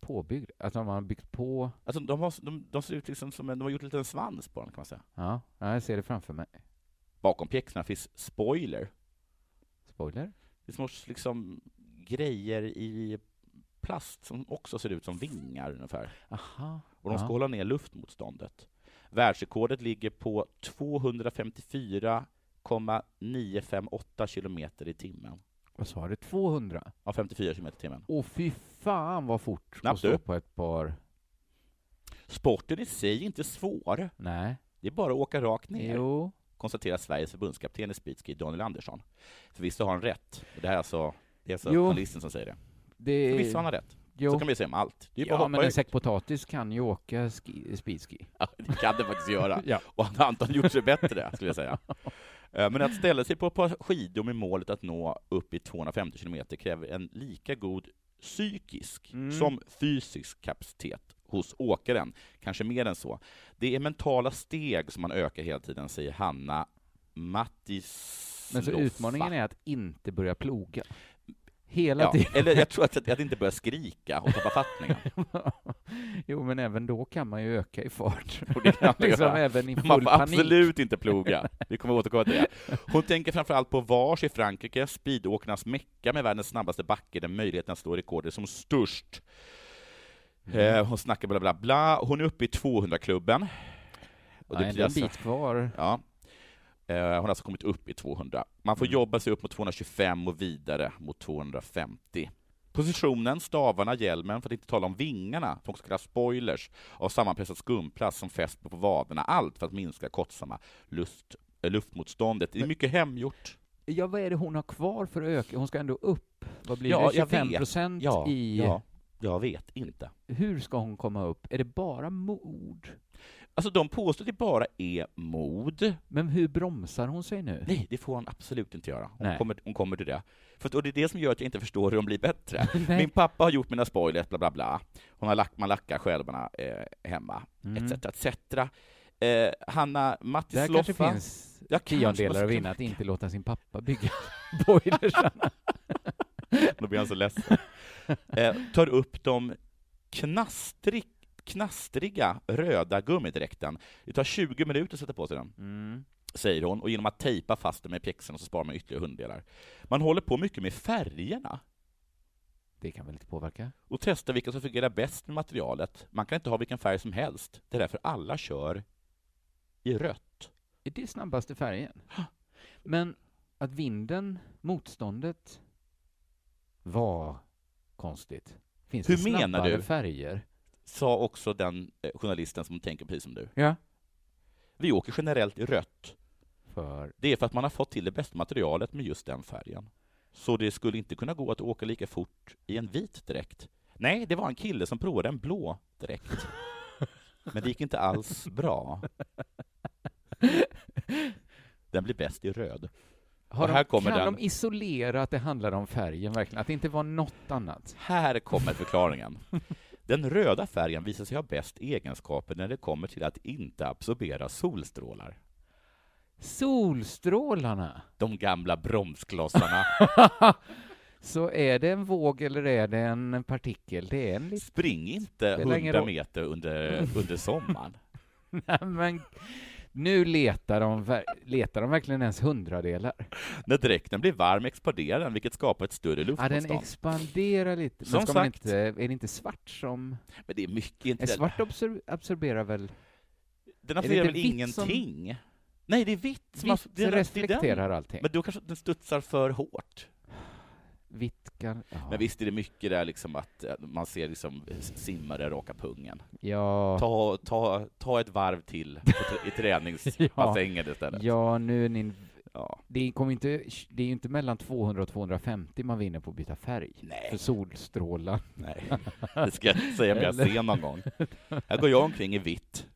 Påbyggd? Alltså man har byggt på?
Alltså de, har, de, de ser ut liksom som en, de har gjort en liten svans på dem kan man säga.
Ja, ja jag ser det framför mig.
Bakom pjäxorna finns spoiler.
Spoiler?
Det är små liksom grejer i plast som också ser ut som vingar ungefär.
Aha.
Och de ska
Ja.
hålla ner luftmotståndet. Världsrekordet ligger på 254,958 kilometer i timmen.
Vad sa du? 200?
Ja, 54 kilometer i timmen.
Åh fy fan vad fort
Knappt
att stå
du.
på ett par...
Sporten i sig är inte svår.
Nej.
Det är bara att åka rakt ner.
Jo.
konstaterar Sveriges förbundskapten i speedski, Daniel Andersson. Förvisso har han rätt. Och Det här är alltså, det är alltså
Jo.
journalisten som säger det.
Det...
Förvisso har han rätt. Så
Jo.
kan vi säga om allt. Det är ju bara
Ja,
att
men
hoppa
en
ut. Alltså,
säck potatis kan ju åka ski... speedski.
Ja, Det kan det faktiskt göra.
Ja.
Och han har antagligen gjort sig bättre, skulle jag säga. Eh, Men att ställa sig på ett par skidor med målet att nå upp i 250 kilometer kräver en lika god psykisk
Mm.
som fysisk kapacitet hos åkaren, kanske mer än så. Det är mentala steg som man ökar hela tiden, säger Hanna Mattis.
Men så utmaningen är att inte börja ploga. Hela
Mm. ja,
tiden. *laughs*
Eller jag tror att, att inte börja skrika och tappa fattningen.
jo, men även då kan man ju öka i
*laughs*
fart.
Och det kan man
liksom
göra.
även i
Men
full
Man får
panik.
absolut inte ploga. Vi kommer återkomma till det. Hon tänker framförallt på Vars i Frankrike, speedåkarnas Mecka med världens snabbaste backe där möjligheten att slå rekord är som störst. Eh, hon snackar bla bla bla. Hon är uppe i 200-klubben. Och
Ja,
det
ändå
blir
en
alltså-
bit kvar.
Ja. Eh, Hon har alltså kommit upp i 200. Man
Mm.
får jobba sig upp mot 225 och vidare mot 250. Positionen, stavarna, hjälmen, för att inte tala om vingarna, som också kallas spoilers, av sammanpressad skumplast som fästs på vaderna. Allt för att minska kortsamma lust, eh, luftmotståndet. Det är mycket hemgjort.
Ja, vad är det hon har kvar för att öka? Hon ska ändå upp. Vad blir
Ja,
det?
jag
25
vet.
procent i...
ja, jag vet inte.
Hur ska hon komma upp? Är det bara mod?
Alltså, de påstår att det bara är mod.
Men hur bromsar hon sig nu?
Nej, det får hon absolut inte göra. Hon,
Nej.
kommer, hon kommer till det. För att, och det är det som gör att jag inte förstår hur de blir bättre.
Nej.
Min pappa har gjort mina spoilers, bla bla bla. Hon har lack, man lackar skälvarna eh, hemma,
Mm.
etc. etc. Eh, Hanna
Där
Mattis
kanske
Loffa.
finns
Ja, kanske
tiondelar
måste
att
vi
vinna, att inte låta sin pappa bygga *laughs* boilersarna.
*laughs* Då blir han så ledsen. Eh, tar upp de knastrig, knastriga röda gummidräkten. Det tar 20 minuter att sätta på sig den.
Mm.
säger hon, och genom att tejpa fast den med pjäxorna så sparar man ytterligare hunddelar. Man håller på mycket med färgerna
Det kan väl inte påverka?
och testar vilka som fungerar bäst med materialet. Man kan inte ha vilken färg som helst. Det är därför alla kör i rött.
Är det snabbaste färgen? *gasps* Men att vinden, motståndet, var konstigt. Finns
Hur
det
menar
snabbare
du?
färger?
Sa också den eh, journalisten som tänker precis som du.
Ja.
Vi åker generellt i rött.
För
Det är för att man har fått till det bästa materialet med just den färgen. Så det skulle inte kunna gå att åka lika fort i en vit dräkt. Nej, det var en kille som provade en blå dräkt. Men det gick inte alls bra. Den blir bäst i röd.
har
Och här kommer
kan
den.
de isolera att det handlar om färgen verkligen? Att det inte var något annat?
Här kommer förklaringen. Den röda färgen visar sig ha bäst egenskaper när det kommer till att inte absorbera solstrålar.
Solstrålarna!
De gamla bromsklossarna.
Så är det en våg eller är det en partikel? Det är en liten...
Spring inte
Spelar ingen
100
roll.
meter under, under sommaren.
*laughs* Nej, men nu letar de, ver- letar de verkligen ens hundradelar.
När dräkten blir varm expanderar den, vilket skapar ett större
Ja, den
luftmotstånd.
expanderar lite. Men
Som
ska man
sagt.
inte, är det inte svart som...
Men det är mycket
Är
inte...
svart absor- absorberar väl...
Den
är det
absorberar väl
inte vitt som-
ingenting? Nej, det är vitt som abs-
Vitt
det är rätt i den.
reflekterar allting.
Men då kanske den studsar för hårt.
Vitt kan... Ja.
Men visst är det mycket där liksom att eh, man ser liksom simmare raka pungen.
ja.
Ta, ta, ta ett varv till på *laughs* tr- i träningsbassängen istället.
ja, nu är ni...
Ja.
Det, kommer inte, det är ju inte mellan 200 och 250 man vinner på att byta färg. För
Nej,
solstrålar.
nej. Det ska jag inte säga om jag
Eller-
ser någon gång. Här går jag omkring i vitt.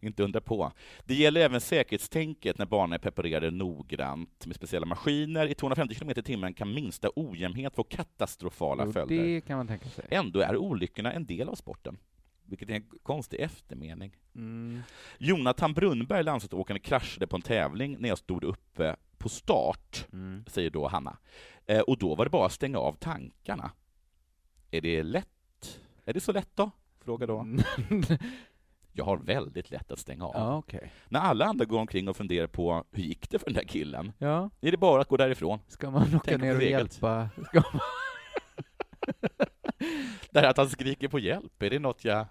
Inte undra på. Det gäller även säkerhetstänket när banorna är preparerade noggrant med speciella maskiner. I 250 km i timmen kan minsta ojämnhet få katastrofala
Och
följder.
det kan man tänka sig.
Ändå är olyckorna en del av sporten, vilket är en konstig eftermening.
Mm.
Jonathan Brunnberg, landslagsåkaren, kraschade på en tävling när jag stod uppe på start,
Mm.
säger då Hanna. Eh, och då var det bara att stänga av tankarna. Är det lätt? Är det så lätt då? Frågar då. Jag har väldigt lätt att stänga av.
ja, okej.
När alla andra går omkring och funderar på hur gick det för den där killen?
Ja.
Är det bara att gå därifrån?
Ska man åka
Tänk på
ner och
eget.
hjälpa? Ska man...
Där att han skriker på hjälp, är det något jag...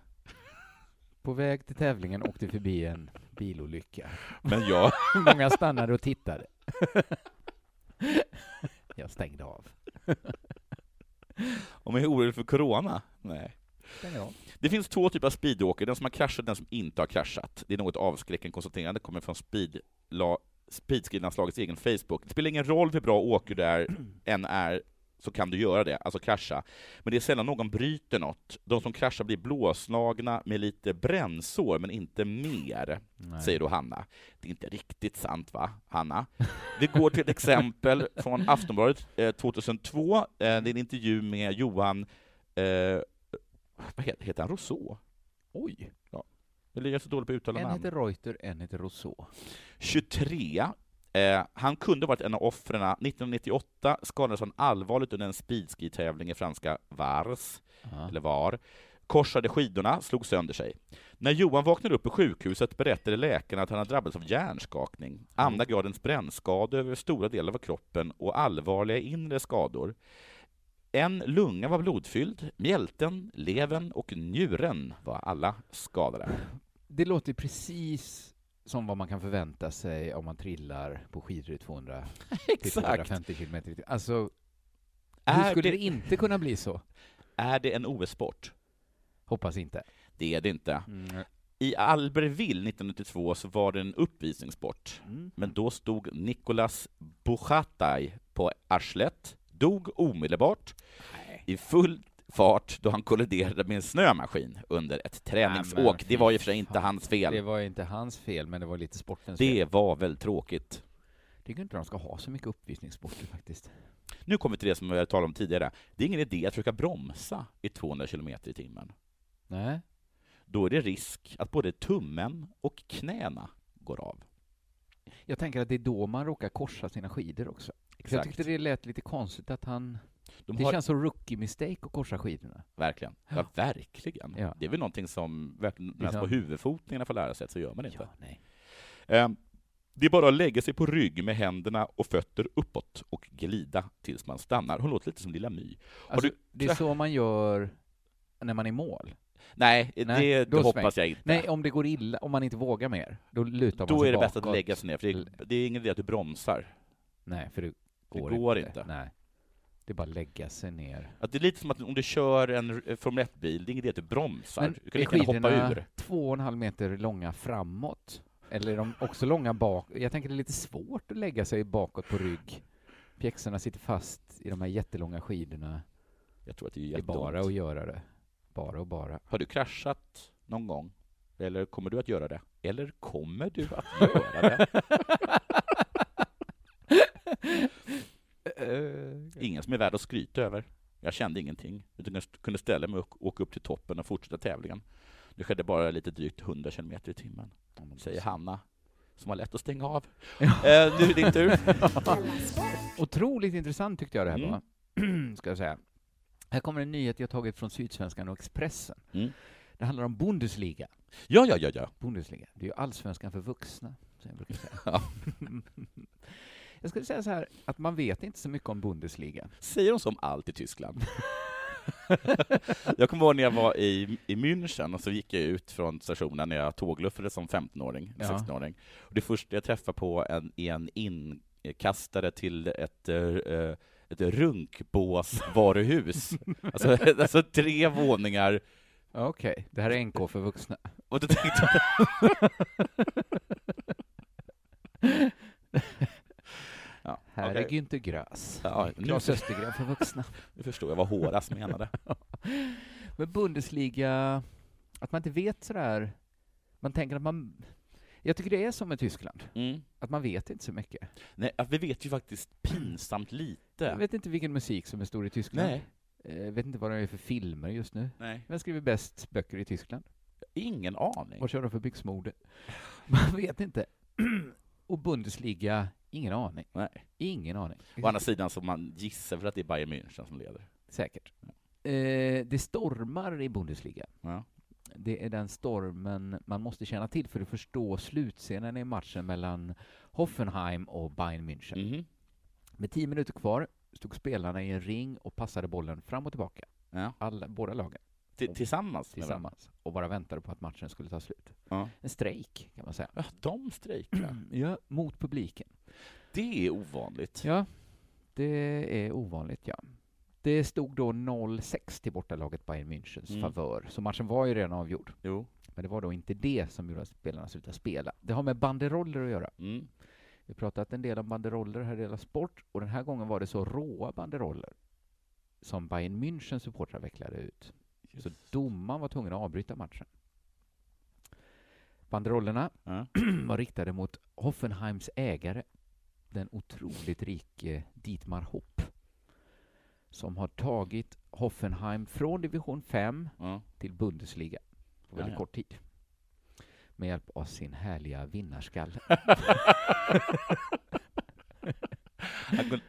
På väg till tävlingen åkte förbi en bilolycka.
Men jag...
Många stannade och *laughs* tittade. Jag stängde av.
Om jag är orolig för corona? Nej.
Stängde av.
Det finns två typer av speedåkare, den som har kraschat och den som inte har kraschat. Det är något avskräckande konstaterande, kommer från speed, la, Speedskridanslagets egen Facebook. Det spelar ingen roll hur bra åker du är, än är, så kan du göra det, alltså krascha. Men det är sällan någon bryter något. De som kraschar blir blåslagna med lite brännsår, men inte mer, säger då Hanna. Det är inte riktigt sant va, Hanna? Vi går till ett exempel från Aftonbladet eh, 2002. Eh, det är en intervju med Johan eh, vad heter, heter han Rousseau? Oj! Ja. Eller jag är så dålig på att uttala
En
namn.
heter Reuter, en heter Rousseau.
23. Eh, han kunde ha varit en av offren. 1998 skadades han allvarligt under en speedski-tävling i franska Vars,
Ja.
eller Var. Korsade skidorna, slog sönder sig. När Johan vaknade upp på sjukhuset berättade läkarna att han hade drabbats av
Mm.
hjärnskakning, andra gradens brännskador över stora delar av kroppen och allvarliga inre skador. En lunga var blodfylld, mjälten,
*laughs*
levern och njuren var alla skadade.
Det låter precis som vad man kan förvänta sig om man trillar på skidor i 200 till
Exakt.
250 km i timmen. Alltså, hur
Är
skulle det...
det,
inte kunna bli så?
är det en OS-sport?
Hoppas inte.
Det är det inte. I Albertville 1992 så var det en uppvisningssport,
Mm.
men då stod Nicolas Buchataj på arslet, dog omedelbart i full fart då han kolliderade med en snömaskin under ett
Nej, men
träningsåk.
fy
Det var ju för sig inte
fan.
hans
Det
fel.
var ju inte hans fel, men det var lite sportens fel.
Det var väl tråkigt.
Jag tycker inte de ska ha så mycket uppvisningssporter faktiskt.
Nu kommer vi till det som jag talade om tidigare. Det är ingen idé att försöka bromsa i 200 km i timmen.
Nej.
Då är det risk att både tummen och knäna går av.
Jag tänker att det är då man råkar korsa sina skidor också. För Jag
Exakt.
tyckte det lät lite konstigt att han...
De
Det
har...
känns som rookie-mistake att korsa skidorna.
Verkligen. Ja, verkligen.
Ja.
Det är väl någonting som verkligen, när
Liksom.
på huvudfotningarna får lära sig, så gör man inte.
nej.
Ehm, Det är bara att lägga sig på rygg med händerna och fötter uppåt och glida tills man stannar. Hon låter lite som Lilla My.
Alltså,
du-
Det är så man gör när man är i mål.
Nej,
Nej,
det,
då
det hoppas jag inte.
Nej, om det går illa, om man inte vågar mer, då lutar man
Då
sig
är det bäst att
bakåt.
lägga sig ner, för det, det är ingen idé att du bromsar.
Nej, för det går,
går inte.
Nej. Det är bara att lägga sig ner.
Att det är lite som att om du kör en eh, Formel 1-bil, det är ingen idé att du bromsar.
Men
du kan lika gärna hoppa ur.
två och en halv meter långa framåt? Eller är de också långa bak? Jag tänker det är lite svårt att lägga sig bakåt på rygg. Pjäxorna sitter fast i de här jättelånga skidorna.
Jag tror att det är
Det är bara
jätteont.
att göra det. Bara och bara.
Har du kraschat någon gång? Eller kommer du att göra det? Eller kommer du
*laughs*
att göra det? Eh, Ingen som är värd att skryta över. Jag kände ingenting, utan jag kunde ställa mig och åka upp till toppen och fortsätta tävlingen. Det skedde bara lite drygt 100 km i timmen, säger Hanna, som har lätt att stänga av. Eh, nu är det din tur.
Della Sport.
Otroligt intressant tyckte jag det här
Mm.
var, *clears throat* ska jag säga. Här kommer en nyhet jag tagit från Sydsvenskan och Expressen.
Mm.
Det handlar om Bundesliga.
Ja, ja, ja, ja.
Bundesliga, det är ju allsvenskan för vuxna, som jag brukar säga.
*laughs* Ja.
*laughs* jag skulle säga så här, att man vet inte så mycket om Bundesliga.
Säger de som allt i Tyskland? *laughs* jag kommer ihåg när jag var i, i München och så gick jag ut från stationen när jag tågluffade som 15-åring, eller
Ja.
16-åring. Och det första jag träffade på en, är en inkastare till ett, eh, eh, ett runkbåsvaruhus. alltså, *laughs* alltså tre våningar.
Okej, det här är NK för vuxna.
Och då tänkte jag... ja,
Här
okej.
är Günther Grass.
Ja, nu
Claes
för-
Östergren för vuxna.
Nu förstår jag vad Horace menade.
Men Bundesliga, att man inte vet sådär, man tänker att man... Jag tycker det är som med Tyskland,
Mm.
att man vet inte så mycket.
Nej, att vi vet ju faktiskt pinsamt
Jag
lite.
vet inte vilken musik som är stor i Tyskland.
Nej.
Eh, Jag vet inte vad de gör för filmer just nu.
Nej.
Vem skriver bäst böcker i Tyskland?
Ingen aning.
Vad kör de för byxmode? *laughs* Man vet inte. *clears throat* Och Bundesliga, ingen aning.
Nej.
Ingen aning.
Å andra sidan så man gissar väl att det är Bayern München som leder.
Säkert. Eh, det stormar i Bundesliga.
Ja.
Det är den stormen man måste känna till för att förstå slutscenen i matchen mellan Hoffenheim och Bayern München.
Mhm.
Med tio minuter kvar stod spelarna i en ring och passade bollen fram och tillbaka.
Ja.
Alla, båda lagen.
T- Tillsammans? med
tillsammans och bara väntade på att matchen skulle ta slut.
Ja.
En strejk, kan man säga.
varandra. Ja, de strejkar.
Ja, mot publiken.
Det är ovanligt.
Ja, det är ovanligt, ja. Det stod då 0-6 till bortalaget Bayern Münchens
Mm.
favör, så matchen var ju redan avgjord.
Jo.
Men det var då inte det som gjorde att spelarna slutade spela. Det har med banderoller att göra.
Mm.
Vi har pratat en del om banderoller här i Dela Sport, och den här gången var det så råa banderoller som Bayern Münchens supportrar vecklade ut. Så domaren var tvungen att avbryta matchen. Banderollerna
Ja.
*clears throat* var riktade mot Hoffenheims ägare, den otroligt rike Dietmar Hopp, som har tagit Hoffenheim från division 5
*laughs* Ja.
till Bundesliga på väldigt
Ja, ja.
kort tid med hjälp av sin härliga vinnarskalle.
Han, går,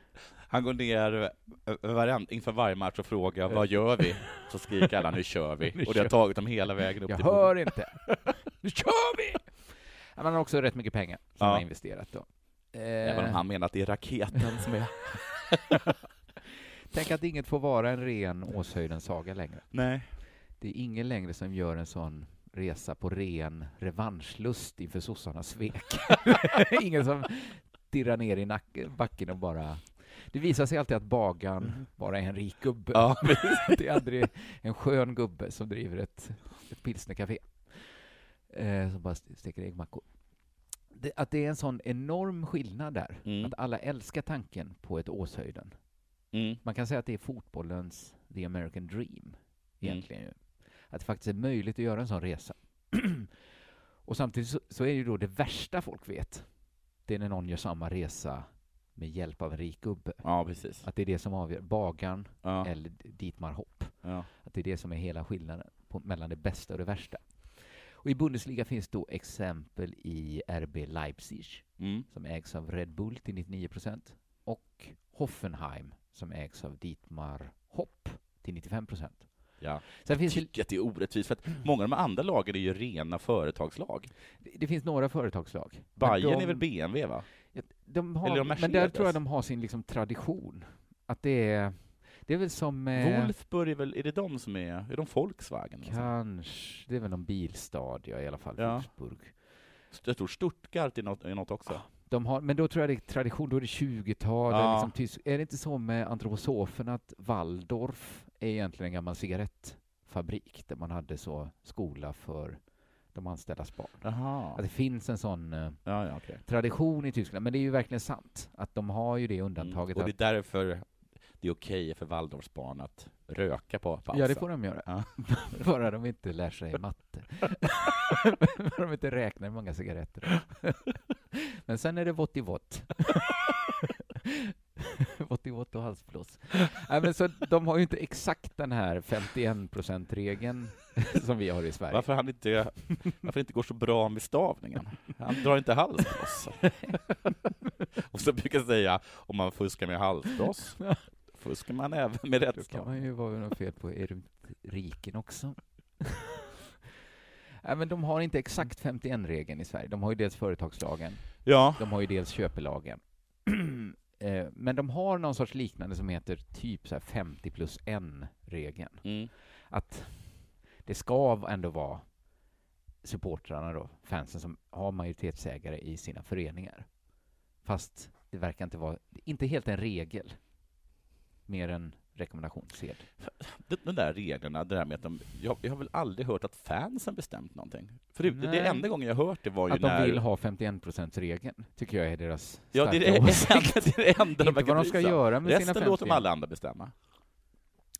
han går ner eh, varend, inför varje match och frågar vad gör vi? Så skriker alla nu kör vi. Och det har tagit dem hela vägen upp
Jag
till bordet.
hör inte. Nu kör vi! Han har också rätt mycket pengar som
Ja.
han har investerat då.
Även om
Eh,
han menar att det är raketen som är...
*laughs* Tänk att inget får vara en ren Åshöjdens saga längre.
Nej.
Det är ingen längre som gör en sån resa på ren revanschlust inför sossarnas svek. *laughs* Ingen som dirrar ner i nack- backen och bara... Det visar sig alltid att bagan bara är en rik gubbe.
Ja,
*laughs* det är aldrig en skön gubbe som driver ett, ett pilsnercafé. Eh, som bara st- steker äggmackor. Det, att det är en sån enorm skillnad där.
Mm.
Att alla älskar tanken på ett Åshöjden.
Mm.
Man kan säga att det är fotbollens the American dream, egentligen.
Mm.
ju. Att det faktiskt är möjligt att göra en sån resa. *clears throat* och samtidigt så, så är det ju då det värsta folk vet, det är när någon gör samma resa med hjälp av en rik gubbe.
ja precis.
Att det är det som avgör, Bagan
Ja,
eller Dietmar Hopp.
ja.
Att det är det som är hela skillnaden på, mellan det bästa och det värsta. Och i Bundesliga finns då exempel i RB Leipzig,
Mm.
som ägs av Red Bull till 99 procent och Hoffenheim som ägs av Dietmar Hopp till 95 procent.
ja.
Sen finns det,
tycker att det är orättvist, för att många av de andra lagen är ju rena företagslag.
det finns några företagslag. men
Bayern
de-
är väl BMW, va?
Ja, de har,
Eller de
men där tror jag
Mercedes?
de har sin liksom tradition. Att det är, det är väl som... eh,
Wolfsburg är väl, är det de som är, är de Volkswagen? eller något
Kanske, det är väl någon bilstad ja, i alla fall,
Ja.
Wolfsburg.
sånt? Jag tror Stuttgart är något, är något också.
De har, men då tror jag det är tradition, då är det 20-tal.
Ja.
Liksom tysk- är det inte så med antroposofen att Waldorf är egentligen en gammal cigarettfabrik där man hade så skola för de anställdas barn?
Jaha.
Att det finns en sån eh,
Ja, ja, okej.
tradition i Tyskland, men det är ju verkligen sant att de har ju det undantaget.
Mm. Och
att,
det är därför det är okej för Waldorfs barn att röka på pausen.
ja, det får de göra.
alltså. Ja.
*laughs* Bara de inte lär
*laughs*
sig matte. Bara de inte räknar hur många cigaretter. men sen är det vått i vått. *laughs* vått i vått och halsblås. Nej, men så de har ju inte exakt den här 51%-regeln *laughs* som vi har i Sverige.
Varför han inte, varför det inte går så bra med stavningen? Han drar inte
*laughs*
halsbloss. Och så brukar jag säga, om man fuskar med halsbloss, fuskar man även med
Då
rätt
kan
stav.
man ju vara något fel på erudiken också. *laughs* Nej, men de har inte exakt 51-regeln i Sverige. De har ju dels företagslagen,
Ja,
de har ju dels köpelagen. *clears throat* Eh, men de har någon sorts liknande som heter typ så här 50 plus 1-regeln.
mm.
Att det ska ändå vara supportrarna då, fansen, som har majoritetsägare i sina föreningar. Fast det verkar inte vara, inte helt en regel, mer en rekommendationssed.
de, de där reglerna, det där med att de, jag, jag har väl aldrig hört att fansen bestämt någonting. Förut, det,
Nej.
det enda gången jag hört det var ju
Att
när...
de vill ha 51%-regeln, tycker jag är deras
ja,
starka
det är det,
åsikt.
enda, *laughs* det är det enda de
Inte
verkar
vad de
bry
ska
sig om.
göra med sina
Resten
50.
låter de alla andra bestämma.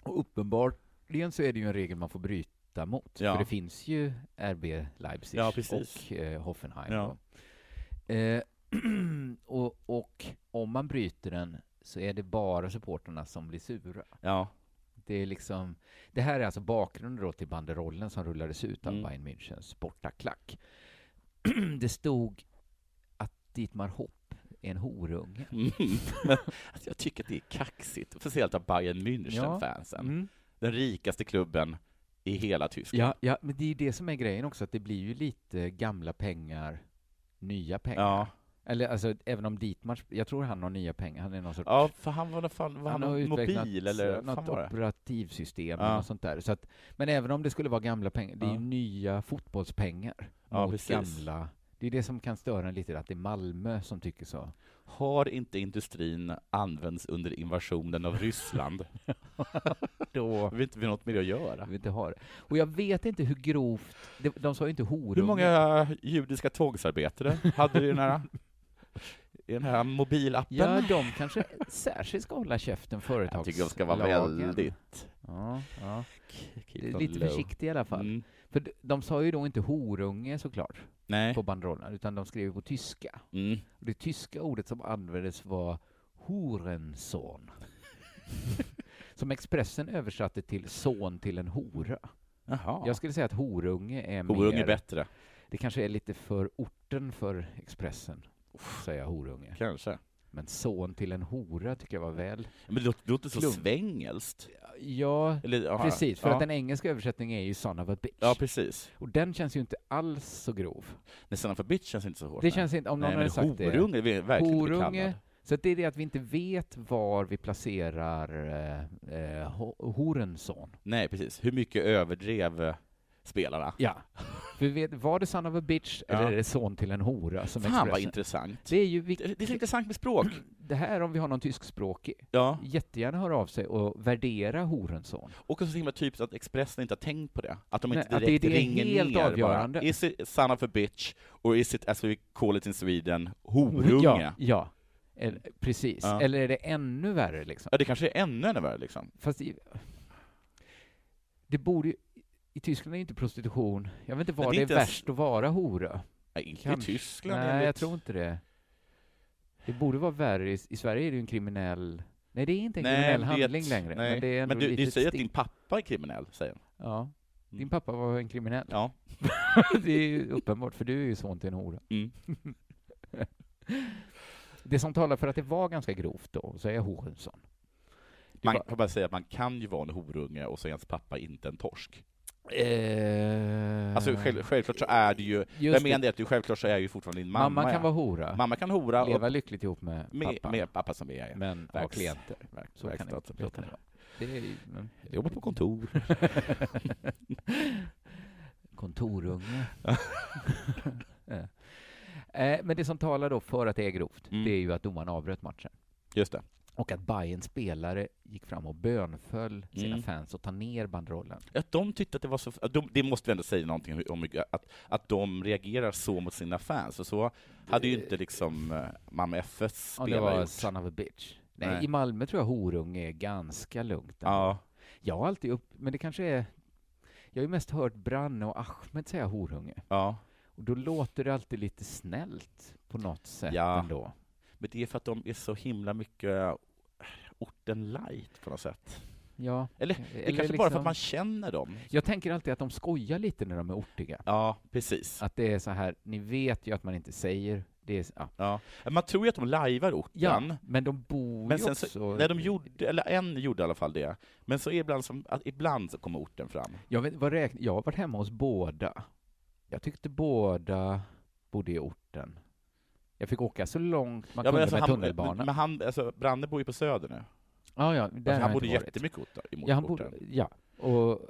Och uppenbarligen så är det ju en regel man får bryta mot,
Ja.
för det finns ju RB Leipzig
Ja, precis.
och eh, Hoffenheim.
Ja.
då. Eh, *clears throat* och, och om man bryter den så är det bara supporterna som blir sura.
Ja. *laughs*
Det, är liksom, det här är alltså bakgrunden då till banderollen som rullades ut av
Mm.
Bayern Münchens bortaklack. *clears throat* det stod att Dietmar Hopp är en horunge.
Mm. Men alltså, jag tycker att det är kaxigt, speciellt av Bayern
Ja.
München-fansen. Den rikaste klubben i hela Tyskland.
Ja, ja, men det är ju det som är grejen också, att det blir ju lite gamla pengar, nya pengar.
Ja.
Eller alltså, även om Dietmar, jag tror han har nya pengar, han är någon sorts...
Ja, för han var nog fan, var han,
har
någon
utvecklat
mobil eller vad fan
något
var det?
operativsystem
Ja.
eller något sånt där. Så att, men även om det skulle vara gamla pengar, det är ju
Ja.
nya fotbollspengar
Ja,
mot
precis.
gamla... Det är det som kan störa en lite, att det är Malmö som tycker så.
Har inte industrin använts under invasionen av Ryssland?
*laughs* Då
Har vi inte något med det att göra?
vill inte ha det. Och jag vet inte hur grovt... De, de sa ju inte horunge.
Hur många judiska tågsarbetare hade du i den
*laughs*
här, i den här mobilappen?
Ja, de kanske särskilt ska hålla käften företagslagen.
jag tycker de ska vara väldigt...
Ja, ja.
keep
Det är
them
lite
low.
försiktig i alla fall.
Mm.
För d- de sa ju då inte horunge såklart
Nej.
på banderollen, utan de skrev ju på tyska.
Mm.
Och det tyska ordet som användes var horenson. *laughs* som Expressen översatte till son till en hora.
Jaha.
Jag skulle säga att horunge är
Horung är
mer...
bättre,
Det kanske är lite för orten för Expressen, säga horunge.
kanske.
Men son till en hora tycker jag var väl...
Men det låter, det låter så
Klump.
svängelskt.
Ja,
Eller, ja,
precis. För
ja.
att den engelska översättningen är ju son of a bitch.
Ja, precis.
och den känns ju inte alls så grov.
Nej, Son of a bitch känns inte så hårt.
Det
nej.
känns inte, om någon
Nej,
hade
men
sagt det.
horunge är verkligen inte kallad.
Horunge. Så att det är det att vi inte vet var vi placerar eh, eh, ho- Horensson.
Nej, precis. Hur mycket överdrev eh, spelarna.
Ja. *laughs* För vi vet, var det son of a bitch
Ja.
eller är det son till en hora som
Fan vad
Expressen...
intressant.
Det är ju
Det, det är
viktigt.
så intressant med
*clears throat*
språk.
Det här om vi har någon tyskspråkig,
Ja.
jättegärna hör av sig och värdera horenson.
Och så himla typiskt att Expressen inte har tänkt på det. Att de inte
Nej, att det-
direkt
det är
ringer
helt
ner
avgörande.
bara. Is it son of a bitch, or is it, as we call it in Sweden, horunge?
Ja,
Ja.
ja. Eller, precis.
Ja.
Eller är det ännu värre liksom?
det kanske är ännu ännu värre liksom.
Fast i, det borde ju, i Tyskland är inte prostitution, jag vet inte
Men
var
det är
det är
inte ens-
värst att vara hora.
Nej, inte
Kanske.
i Tyskland
Nej,
enligt-
jag tror inte det. Det borde vara värre. I, i Sverige är det ju en kriminell... Nej, det är inte en kriminell
det är
handling
ett-
längre.
Nej.
Men det är ändå
du,
lite
du säger att
stick.
din pappa är kriminell, säger han.
Ja. Din
Mm.
pappa var en kriminell. *laughs*
Ja.
det är ju uppenbart, för du är ju son till en hora.
Mm.
*laughs* Det som talar för att det var ganska grovt då, så är Håkansson.
Man
bara-
kan bara säga att man kan ju vara en horunge och så är ens pappa inte en torsk.
Eh,
Alltså själv, självklart så är det ju, jag
just det.
menar det att du självklart så är ju fortfarande din mamma.
mamma, kan
ja.
vara hora,
mamma kan hora
leva
och
lyckligt ihop med,
med,
pappa,
med pappa som vi är. Ja.
men ha
Verks-
klienter. Så kan det, så kan det
Verkstadsarbetare.
vara. Det är, ju- men,
Jag jobbar på kontor.
*laughs* Kontorunge. Eh, Men det som talar då för att det är grovt,
Mm.
det är ju att domaren avbröt matchen.
Just det.
Och att Bayerns spelare gick fram och bönföll sina
Mm.
fans att ta ner banderollen.
Att de tyckte att det var så, att de, det måste vi ändå säga någonting om, hur mycket- att, att de reagerar så mot sina fans, och så hade ju inte liksom eh, Malmö FFs
Ja, det
spelare
var
gjort.
son of a bitch. Nej,
Nej.
i Malmö tror jag horunge är ganska lugnt.
Ja,
Jag har alltid upp... Men det kanske är... Jag har ju mest hört Branne och Ahmed säga horunge.
ja.
Och då låter det alltid lite snällt på något sätt
Ja.
ändå.
Men det är för att de är så himla mycket eh, orten light på något sätt.
Ja. liksom-
Eller- Det är kanske bara för att man känner dem.
Jag tänker alltid att de skojar lite när de är ortiga.
Ja, precis.
Att det är så här, ni vet ju att man inte säger det. Är, ja.
Ja. Man tror ju att de lajvar orten,
ja, men de bor
men
ju
sen
också...
så, när de gjorde, eller en gjorde i alla fall det, men så är ibland, som, att ibland så kommer orten fram.
jag, vet, vad räkn... jag har varit hemma hos båda. Jag tyckte båda bodde i orten. Jag fick åka så långt man
Ja, men
kunde
alltså,
med
han,
tunnelbanan.
men men han, alltså, Branne bor ju på Söder nu.
ja, ja, där
Alltså,
har
han
jag
bodde
inte varit.
jättemycket orten, emot
Ja, han
orten.
bodde, ja, och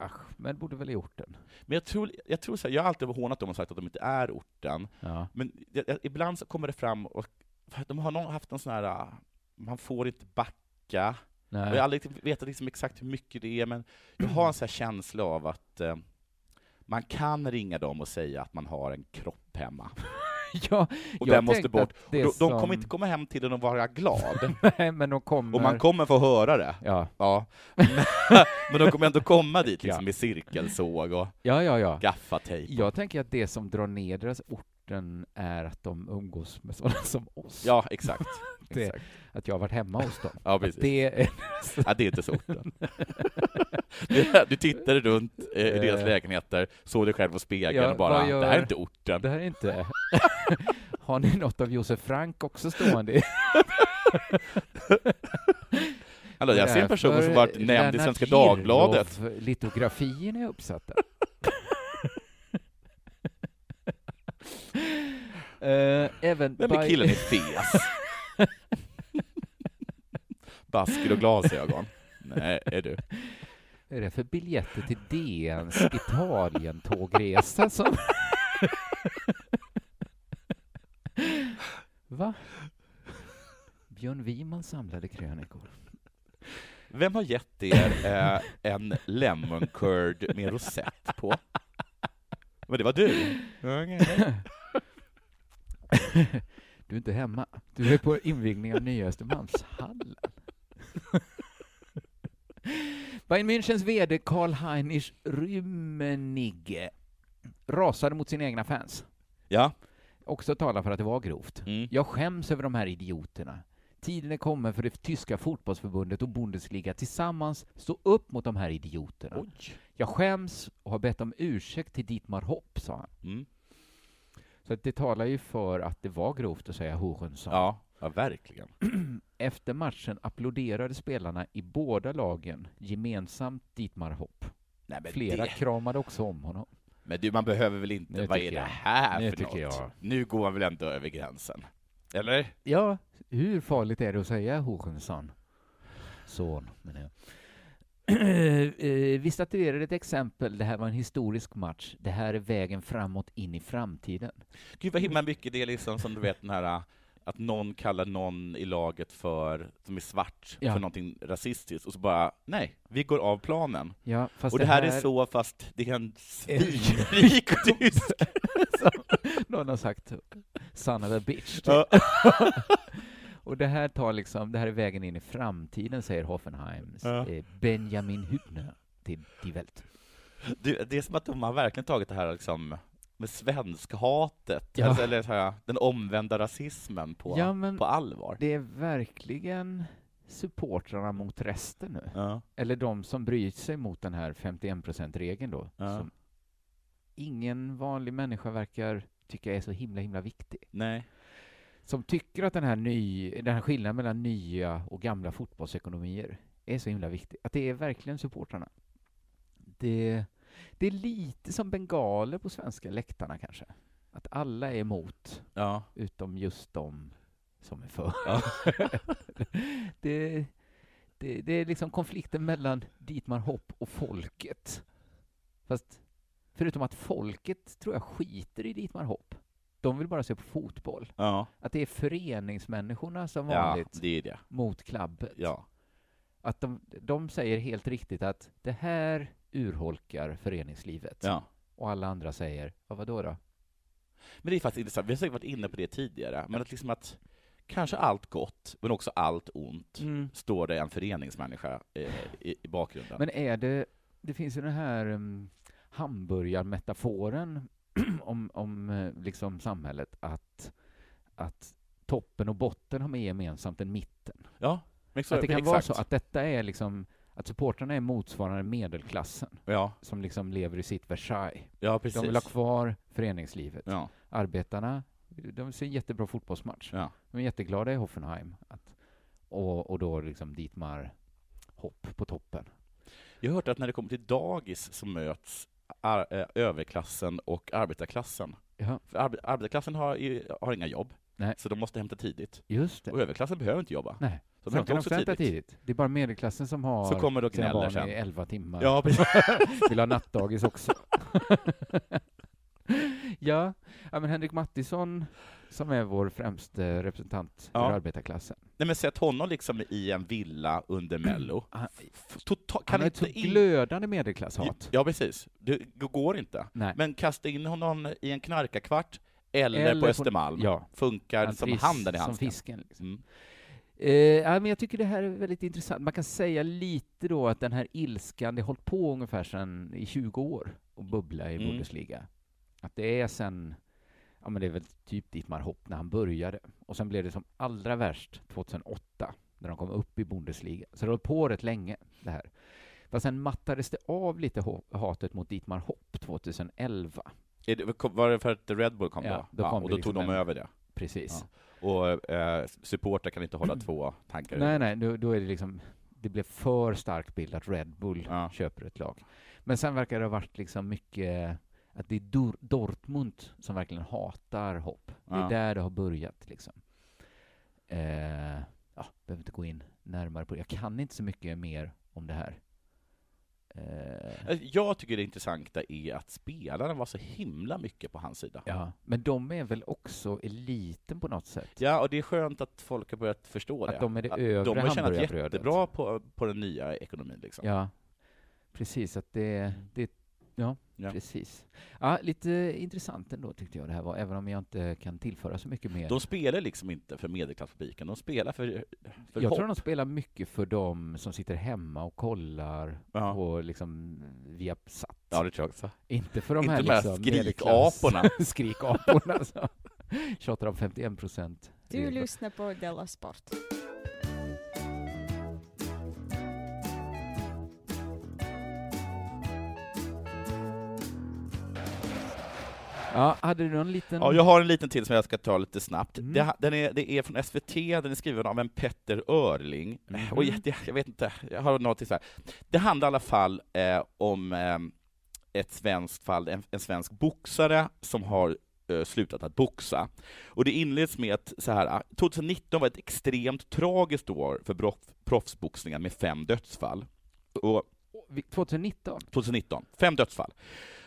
Ahmed bodde väl i orten.
Men jag tror, jag tror så här, jag har alltid hånat dem och sagt att de inte är orten,
Ja.
men jag, jag, ibland så kommer det fram och för att de har någon, haft någon sån här, ah, man får inte backa,
Nej.
och jag har aldrig riktigt vetat liksom exakt hur mycket det är, men jag har en sån här känsla av att eh, man kan ringa dem och säga att man har en kropp hemma.
*laughs* ja,
Och
jag
den måste
tänkte
bort.
att
Och
det
de, de
som-
kommer inte komma hem till den och vara glad,
*laughs* Nej, men de kommer...
och man kommer få höra det.
ja.
Ja. *laughs* Men de kommer ändå komma dit liksom, med cirkelsåg och
ja, ja, ja.
gaffatejp.
Jag tänker att det som drar ner deras orten är att de umgås med sådana *laughs* som oss.
Ja, exakt.
*laughs* Det-
exakt.
Att jag har varit hemma hos dem.
*laughs* Ja,
Att
precis.
det är, *laughs*
Ja, det är inte så orten. *laughs* Du, du tittade runt eh, i deras
Eh.
lägenheter, såg dig själv på spegeln
Ja,
och bara
vad gör-
”det här är inte orten”.
det här är inte... *laughs* Har ni något av Josef Frank också
*laughs*
stående? i-
Alltså, jag ser en person som
Därför
varit nämnd i
Lennart
Svenska Dagbladet.
Giroff- Litografierna
*laughs*
är uppsatta. *laughs* Eh, även
Vem är
Bay-
killen i
*laughs*
fes? Basker och glasögon. Nej, är du.
Vad är det för biljetter till DNs Italien-tågresa som... *laughs* Va? Björn Wiman samlade krönikor.
Vem har gett er eh, en lemon curd med rosett på? Men det var du.
Du är inte hemma. Du är på invigning av Nya Östermalmshallen. *laughs* Bayern Münchens VD Karl-Heinrich Rummenigge rasade mot sina egna fans.
Ja.
Också talar för att det var grovt.
Mm.
Jag skäms över de här idioterna. Tiden är kommen för det tyska fotbollsförbundet och Bundesliga tillsammans stå upp mot de här idioterna.
Oj.
Jag skäms och har bett om ursäkt till Dietmar Hopp, sa han.
Mm.
Så att det talar ju för att det var grovt att säga Hochensson.
Ja, ja, verkligen.
Efter matchen applåderade spelarna i båda lagen gemensamt Dietmar Hopp.
Nej, men
Flera
det-
kramade också om honom.
Men du, man behöver väl inte,
Nu
vad
tycker
är det
jag.
här
Nu
för något?
tycker jag.
Nu går man väl ändå över gränsen? Eller?
Ja, hur farligt är det att säga Hochensson? Son, menar jag. *clears throat* eh, vi statuerade ett exempel. Det här var en historisk match. Det här är vägen framåt in i framtiden.
Gud vad himla mycket det är liksom som du vet den här att någon kallar någon i laget för, som är svart,
Ja.
för någonting rasistiskt, och så bara, nej, vi går av planen.
Ja, fast Eh.
och det här, är så, fast det är en
En-
svinrik tysk.
*laughs* Någon har sagt son of a bitch. typ.
Ja.
*laughs* Och det här tar liksom, det här är vägen in i framtiden, säger Hoffenheims
Ja.
eh, Benjamin Hübner till Die Welt.
Du, det är som att de har verkligen tagit det här liksom, med svenskhatet,
Ja.
alltså, eller så här, den omvända rasismen på,
Ja, men
på allvar.
det är verkligen supportrarna mot resten nu.
Ja.
Eller de som bryr sig mot den här 51%-regeln då,
Ja.
som ingen vanlig människa verkar tycka är så himla, himla viktig.
Nej.
Som tycker att den här, ny, den här skillnaden mellan nya och gamla fotbollsekonomier är så himla viktig. Att det är verkligen supportrarna. Det, det är lite som bengaler på svenska läktarna kanske. Att alla är emot,
Ja.
utom just de som är för.
Ja.
*laughs* det, det, det är liksom konflikten mellan Dietmar Hopp och folket. Fast förutom att folket tror jag skiter i Dietmar Hopp. De vill bara se på fotboll.
Ja.
Att det är föreningsmänniskorna som
ja,
vanligt
det är det.
mot klabbet.
Ja.
Att de, de säger helt riktigt att det här urholkar föreningslivet.
Ja.
Och alla andra säger, ja, vadå då?
Men det är faktiskt intressant, vi har säkert varit inne på det tidigare, men att liksom att kanske allt gott, men också allt ont,
Mm.
står det en föreningsmänniska eh, i, i bakgrunden.
Men är det, det finns ju den här um, hamburgarmetaforen *clears throat* om, om eh, liksom samhället, att, att toppen och botten har mer gemensamt än mitten.
ja, men så,
att det kan
exakt.
vara så att detta är liksom, att supportrarna är motsvarande medelklassen
Ja,
som liksom lever i sitt Versailles.
ja precis.
De vill ha kvar föreningslivet.
ja,
Arbetarna, de ser en jättebra fotbollsmatch.
ja.
De är jätteglada i Hoffenheim. Att, och, och då liksom Dietmar Hopp på toppen.
Jag har hört att när det kommer till dagis så möts ar- eh, överklassen och arbetarklassen.
Ja,
För arbe- arbetarklassen har, ju- har inga jobb,
Nej.
så de måste hämta tidigt.
just det.
Och överklassen behöver inte jobba.
Nej.
Så de
Sen
hämtar
kan de
också
sluta
tidigt.
tidigt. Det är bara medelklassen som har
Så kommer det och
sina
gnäller
barn
sen.
i 11 timmar.
Ja, precis.
Vill ha nattdagis också. *laughs* ja. ja, men Henrik Mattisson som är vår främste representant
Ja.
ur arbetarklassen.
Nej men sätt honom liksom i en villa under Mello.
Mm. Han,
F- Total,
han
kan
har ett
inte
så
in-
glödande medelklasshat.
Ja, precis. Det g- går inte.
Nej.
Men kasta in honom i en knarkarkvart eller,
Eller
på
på-
Östermalm.
ja.
Funkar
Han
som
trivs
handen i
Som
handsken.
fisken. Liksom.
Mm.
Eh, ja, men jag tycker det här är väldigt intressant. Man kan säga lite då att den här ilskan, det har hållit på ungefär sedan i 20 år och bubbla i
Mm.
Bundesliga. Att det är sen, ja men det är väl typ Dietmar Hopp när han började. Och sen blev det som allra värst 2008, när de kom upp i Bundesliga. Så det har hållit på rätt länge, det här. Fast sen mattades det av lite ho- hatet mot Dietmar Hopp 2011.
Är det, kom- var det för att Red Bull kom
Ja,
då?
då
ja,
kom
och
det
då
liksom
tog de
en-
över det.
Precis.
Och eh, supportrar kan inte hålla två tankar i
Mm. Nej, nej, då, då är det liksom, det blev för stark bild att Red Bull
Ja.
köper ett lag. Men sen verkar det ha varit liksom mycket, att det är Dor- Dortmund som verkligen hatar hopp. Det
Ja.
är där det har börjat liksom. Eh, ja, behöver inte gå in närmare på det. Jag kan inte så mycket mer om det här. Eh,
huvudet. Alltså, Jag tycker det intressanta är att spelarna var så himla mycket på hans sida.
ja. Men de är väl också eliten på något sätt?
Ja, och det är skönt att folk har börjat förstå det.
Att de är det
de
övre
har tjänat
hamburgerbrödet.
jättebra på, på den nya ekonomin liksom.
Ja, precis. Att det, det, ja,
Mm. Ja.
precis. Ja, lite intressant ändå tyckte jag det här var, även om jag inte kan tillföra så mycket mer.
De spelar liksom inte för medelklasspubliken, de spelar för, för
jag
hopp.
tror de spelar mycket för de som sitter hemma och kollar
Ja.
på liksom Viasat.
Ja, det tror jag också.
Inte för de
Inte
här,
de här
liksom,
skrikaporna.
medelklass- *laughs* skrikaporna som tjatar om 51 procent. Typ.
Du lyssnar på Della Sport.
Ja, hade du någon liten...
Ja, jag har en liten till som jag ska ta lite snabbt.
Mm.
Det, den är, det är från SVT, den är skriven av en Petter Örling.
Mhm.
Och jag, jag vet inte, jag har något till så här. Det handlar i alla fall eh, om eh, ett svenskt fall, en, en svensk boxare som har eh, slutat att boxa. Och det inleds med att så här, 2019 var ett extremt tragiskt år för broff, proffsboxningen med fem dödsfall. Och
vi- 2019?
2019. Fem dödsfall.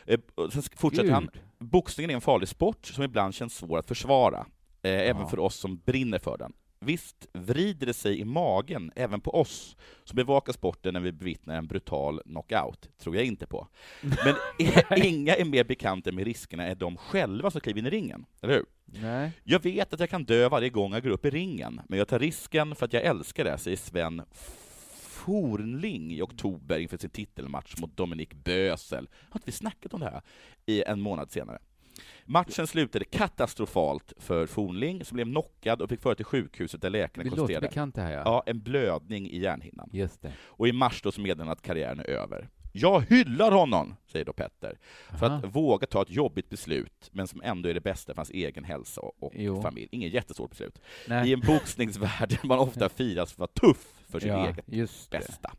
Eh, och Sen sk- fortsätter han.
Gud.
Boxningen är en farlig sport som ibland känns svår att försvara, eh, även för oss som brinner för den. Visst vrider det sig i magen även på oss som bevakar sporten när vi bevittnar en brutal knockout, tror jag inte på. Men i- inga är mer bekanta med riskerna än de själva som kliver in i ringen, eller hur?
Nej.
Jag vet att jag kan dö varje gång jag går upp i ringen, men jag tar risken för att jag älskar det, säger Sven Fornling i oktober inför sin titelmatch mot Dominik Bösel. Har inte vi snackat om det här? I en månad senare. Matchen slutade katastrofalt för Fornling, som blev knockad och fick föra till sjukhuset där läkarna
Det låter
konstaterade
bekant det här ja.
ja, en blödning i hjärnhinnan
Just det.
och i mars då så meddelade han att karriären är över. Jag hyllar honom, säger då Petter, för
Aha.
att våga ta ett jobbigt beslut, men som ändå är det bästa för hans egen hälsa och
Jo.
familj. Inget jättestort beslut.
Nej.
I en boxningsvärld där man ofta firas för att vara tuff för sitt eget
just det.
bästa.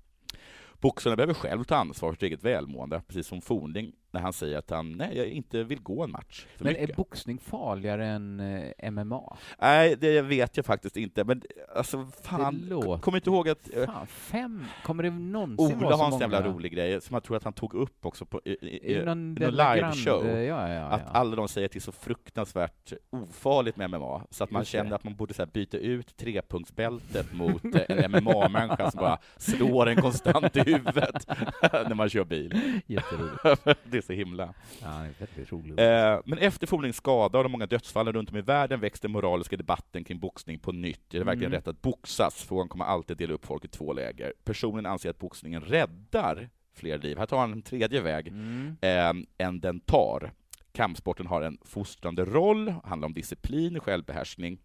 Boxarna behöver själv ta ansvar för sitt eget välmående, precis som Fornling när han säger att han nej, jag inte vill gå en match för
Men
mycket.
är boxning farligare än eh, MMA?
Nej, det vet jag faktiskt inte, men alltså fan,
låter-
kommer inte ihåg att eh,
Fan, fem? Kommer det någonsin
Ola
vara så
har en sån
många?
jävla rolig grej som jag tror att han tog upp också på, i, i,
Är
i,
det någon
någon
Bella
liveshow?
Grande? Ja, ja, ja.
att alla de säger att det är så fruktansvärt ofarligt med MMA, så att man
Just
känner
det.
att man borde så här byta ut trepunktsbältet mot eh, en MMA-människa som bara slår en konstant i huvudet *laughs* när man kör bil. *laughs*
Jätteroligt.
Det är så himla.
Ja, det är väldigt roligt.
Eh, Men efter Fornings skada och de många dödsfallen runt om i världen väcks den moraliska debatten kring boxning på nytt. Är det verkligen
Mm.
rätt att boxas? Frågan kommer alltid dela upp folk i två läger. Personen anser att boxningen räddar fler liv. Här tar han en tredje väg
Mm.
eh, än den tar. Kampsporten har en fostrande roll, handlar om disciplin och självbehärskning.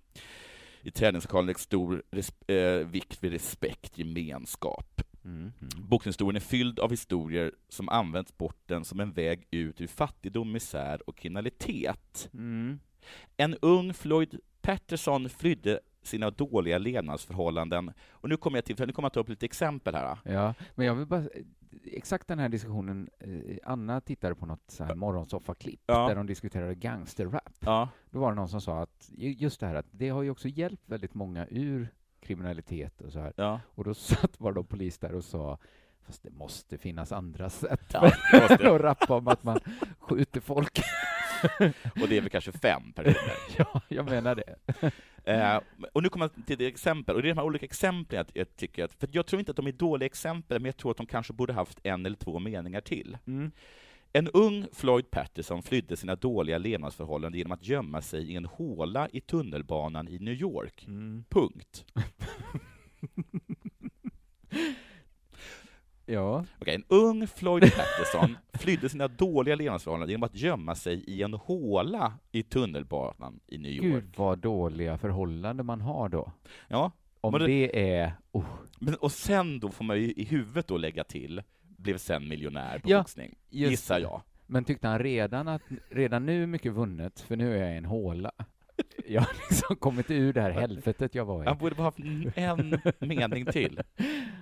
I träningslokalen läggs stor res- eh, vikt vid respekt, gemenskap.
Mm. Mm.
Boxningshistorien är fylld av historier som använt sporten som en väg ut ur fattigdom, misär och kriminalitet.
Mm.
En ung Floyd Patterson flydde sina dåliga levnadsförhållanden. Och nu kommer jag till, för nu kommer jag ta upp lite exempel här.
Ja, men jag vill bara... Exakt den här diskussionen, eh, Anna tittade på något så här morgonsoffa-klipp
Ja.
där de diskuterade gangsterrap.
Ja.
Då var det någon som sa att ju- just det här att det har ju också hjälpt väldigt många ur kriminalitet och så här.
ja.
Och då *laughs* satt bara då polis där och sa fast det måste finnas andra sätt
ja det måste
än
jag.
*laughs* att rappa om att man skjuter folk. *laughs*
och det är väl kanske fem personer.
ja, jag menar det.
Eh, och nu kommer jag till det exempel, och det är de här olika exemplen jag, jag tycker att, för jag tror inte att de är dåliga exempel, men jag tror att de kanske borde haft en eller två meningar till.
Mm.
En ung Floyd Patterson flydde sina dåliga levnadsförhållanden genom att gömma sig i en håla i tunnelbanan i New York. Punkt.
Ja.
Okej, en ung Floyd
*laughs*
Patterson flydde sina dåliga levnadsförhållanden genom att gömma sig i en håla i tunnelbanan i New York.
Gud vad dåliga förhållanden man har då.
Ja,
Om
Men det-
det... är... Oh.
men, och sen då får man ju i huvudet då lägga till, blev sen miljonär på
Ja,
boxning, gissar jag.
Men tyckte han redan att redan nu är mycket vunnet, för nu är jag i
*laughs*
en håla. Jag har liksom kommit ur det här helvetet jag var i.
Han borde bara haft
*laughs*
en mening till.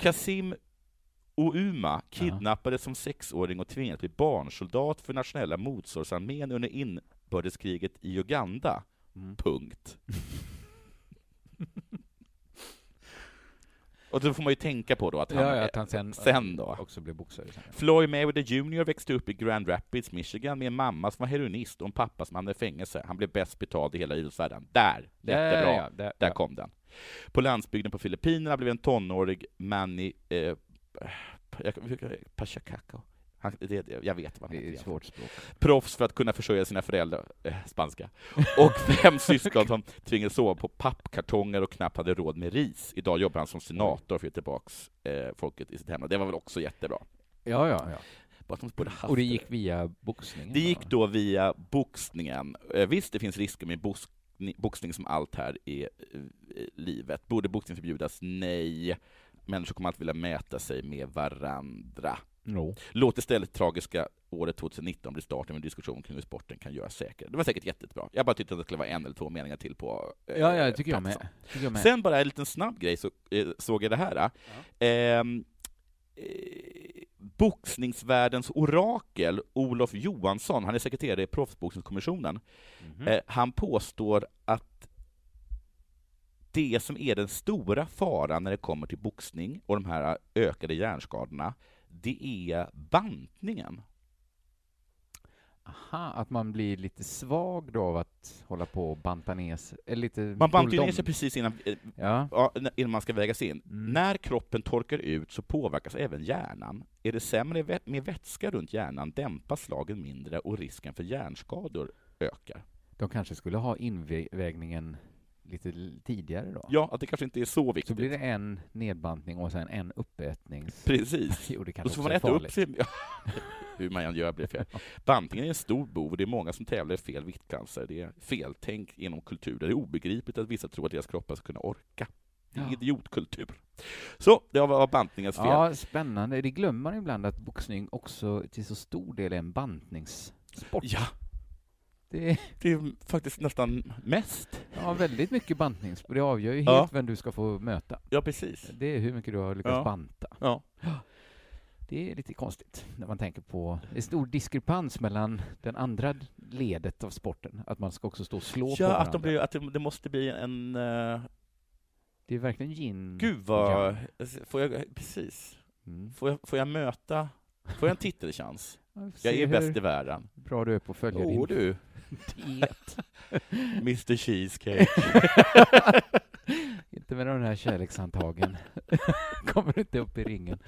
Kasim Ouma kidnappades som sexåring och tvingades bli barnsoldat för nationella motståndsarmén under inbördeskriget i Uganda.
Mm. *laughs*
Punkt. och då får man ju tänka på då att han...
Ja, ja, att han sen,
sen då.
också blev boxare. sen, ja.
Floyd Mayweather Jr växte upp i Grand Rapids, Michigan med en mamma som var heroinist och en pappa som hamnade i fängelse. Han blev bäst betald i hela idrottsvärlden. Där lät det bra.
Ja, där,
Där
ja.
kom den. På landsbygden på Filippinerna blev en tonårig Manny... Eh, eh, jag- jag- Pachacacao. Han, det, det- jag vet vad han
Det är
heter.
ett svårt språk.
Proffs för att kunna försörja sina föräldrar, eh, spanska, och fem syskon som tvingades sova på pappkartonger och knappt hade råd med ris. Idag jobbar han som senator för att ge tillbaks eh, folket i sitt hemland. Det var väl också jättebra.
Ja, ja, ja.
Bara att de borde haft
Och det gick via boxningen?
Det gick då via boxningen. Eh, Visst, det finns risker med boxning, boxning som allt här i eh, livet. Borde boxning förbjudas? Nej. Människor kommer alltid vilja mäta sig med varandra.
No.
Låt istället tragiska året 2019 bli starten av en diskussion kring hur sporten kan göras säkrare. Det var säkert jättebra. Jag bara tyckte att det skulle vara en eller två meningar till på eh,
Ja, ja, det tycker jag
Patterson.
med. Tycker jag med.
Sen bara en liten snabb grej, så eh, såg jag det här. Ehm, Eh, boxningsvärldens orakel, Olof Johansson, han är sekreterare i proffsboxningskommissionen,
Mhm.
eh, han påstår att det som är den stora faran när det kommer till boxning och de här ökade eh, hjärnskadorna, det är bantningen.
Aha, att man blir lite svag då av att hålla på och banta ner sig. Eller lite
Man bantar ner
bulldom.
sig precis innan, eh,
Ja.
ja, innan man ska vägas in.
Mm.
När kroppen torkar ut så påverkas även hjärnan. Är det sämre vä- med vätska runt hjärnan dämpas slagen mindre och risken för hjärnskador ökar.
De kanske skulle ha invägningen lite l- tidigare då?
Ja, att det kanske inte är så
Så
viktigt.
blir det en nedbantning och sen en uppätnings...
Precis.
*laughs* Jo, det
Och
kanske
så får
också
man
är
äta upp
farligt.
sin... *laughs* Hur man än gör blir fel. Bantningen är en stor bov och det är många som tävlar i fel viktklassar. Det är feltänk inom kultur där det är obegripligt att vissa tror att deras kroppar ska kunna orka. Det är
Ja.
idiotkultur. Så, det var bantningens fel.
Ja, spännande. Det glömmer man ibland att boxning också till så stor del är en bantningssport.
Ja,
Det är
det är faktiskt nästan mest.
ja, väldigt mycket bantning. Det avgör ju helt
Ja.
vem du ska få möta.
Ja, precis.
Det är hur mycket du har lyckats
Ja.
banta.
Ja.
*gasps* Det är lite konstigt när man tänker på det är stor diskrepans mellan den andra ledet av sporten, att man ska också stå och slå på
Ja,
varandra.
att, de blir, att det, det måste bli en... eh,
Det är verkligen yin.
gud vad... Får jag, precis.
Mm.
Får jag, får jag möta... Får jag en *laughs* titelchans? Jag
Se
är bäst i
hur
världen.
bra du är på att följa
Åh
din
du, *laughs*
diet.
Mr Cheesecake.
inte med de här kärlekshandtagen. *laughs* Kommer du inte upp i ringen.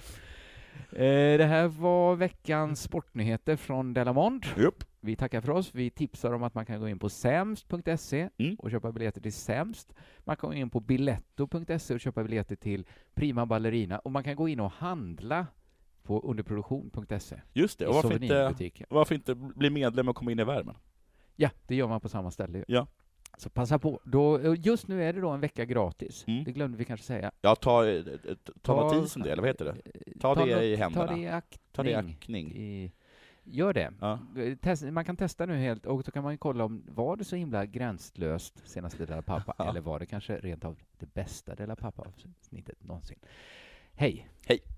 Eh, Det här var veckans sportnyheter från Delamond.
*laughs* Japp.
Vi tackar för oss. Vi tipsar om att man kan gå in på sämst.se
Mm.
och köpa biljetter till Sämst. Man kan gå in på biletto.se och köpa biljetter till Prima Ballerina och man kan gå in och handla på underproduktion.se
Just
i
det, eh. och varför inte,
souvenirbutiken.
varför inte bli medlem och komma in i värmen?
Ja, det gör man på samma ställe. ju.
Ja.
Så passa på. Då, eh, just nu är det då en vecka gratis.
Mm.
Det glömde vi kanske säga.
Ja, ta, eh, ta, ta notisen det, eller vad heter det? Ta, det
no-
i
Ta
händerna. Mm.
det i aktning.
Ta det i aktning.
I, gör det.
Ja.
Test, man kan testa nu helt, och så kan man ju kolla om var det så himla gränslöst senaste Della Pappa,
Ja.
eller var det kanske rent av det bästa Della Pappa-avsnittet någonsin. Hej!
Hej.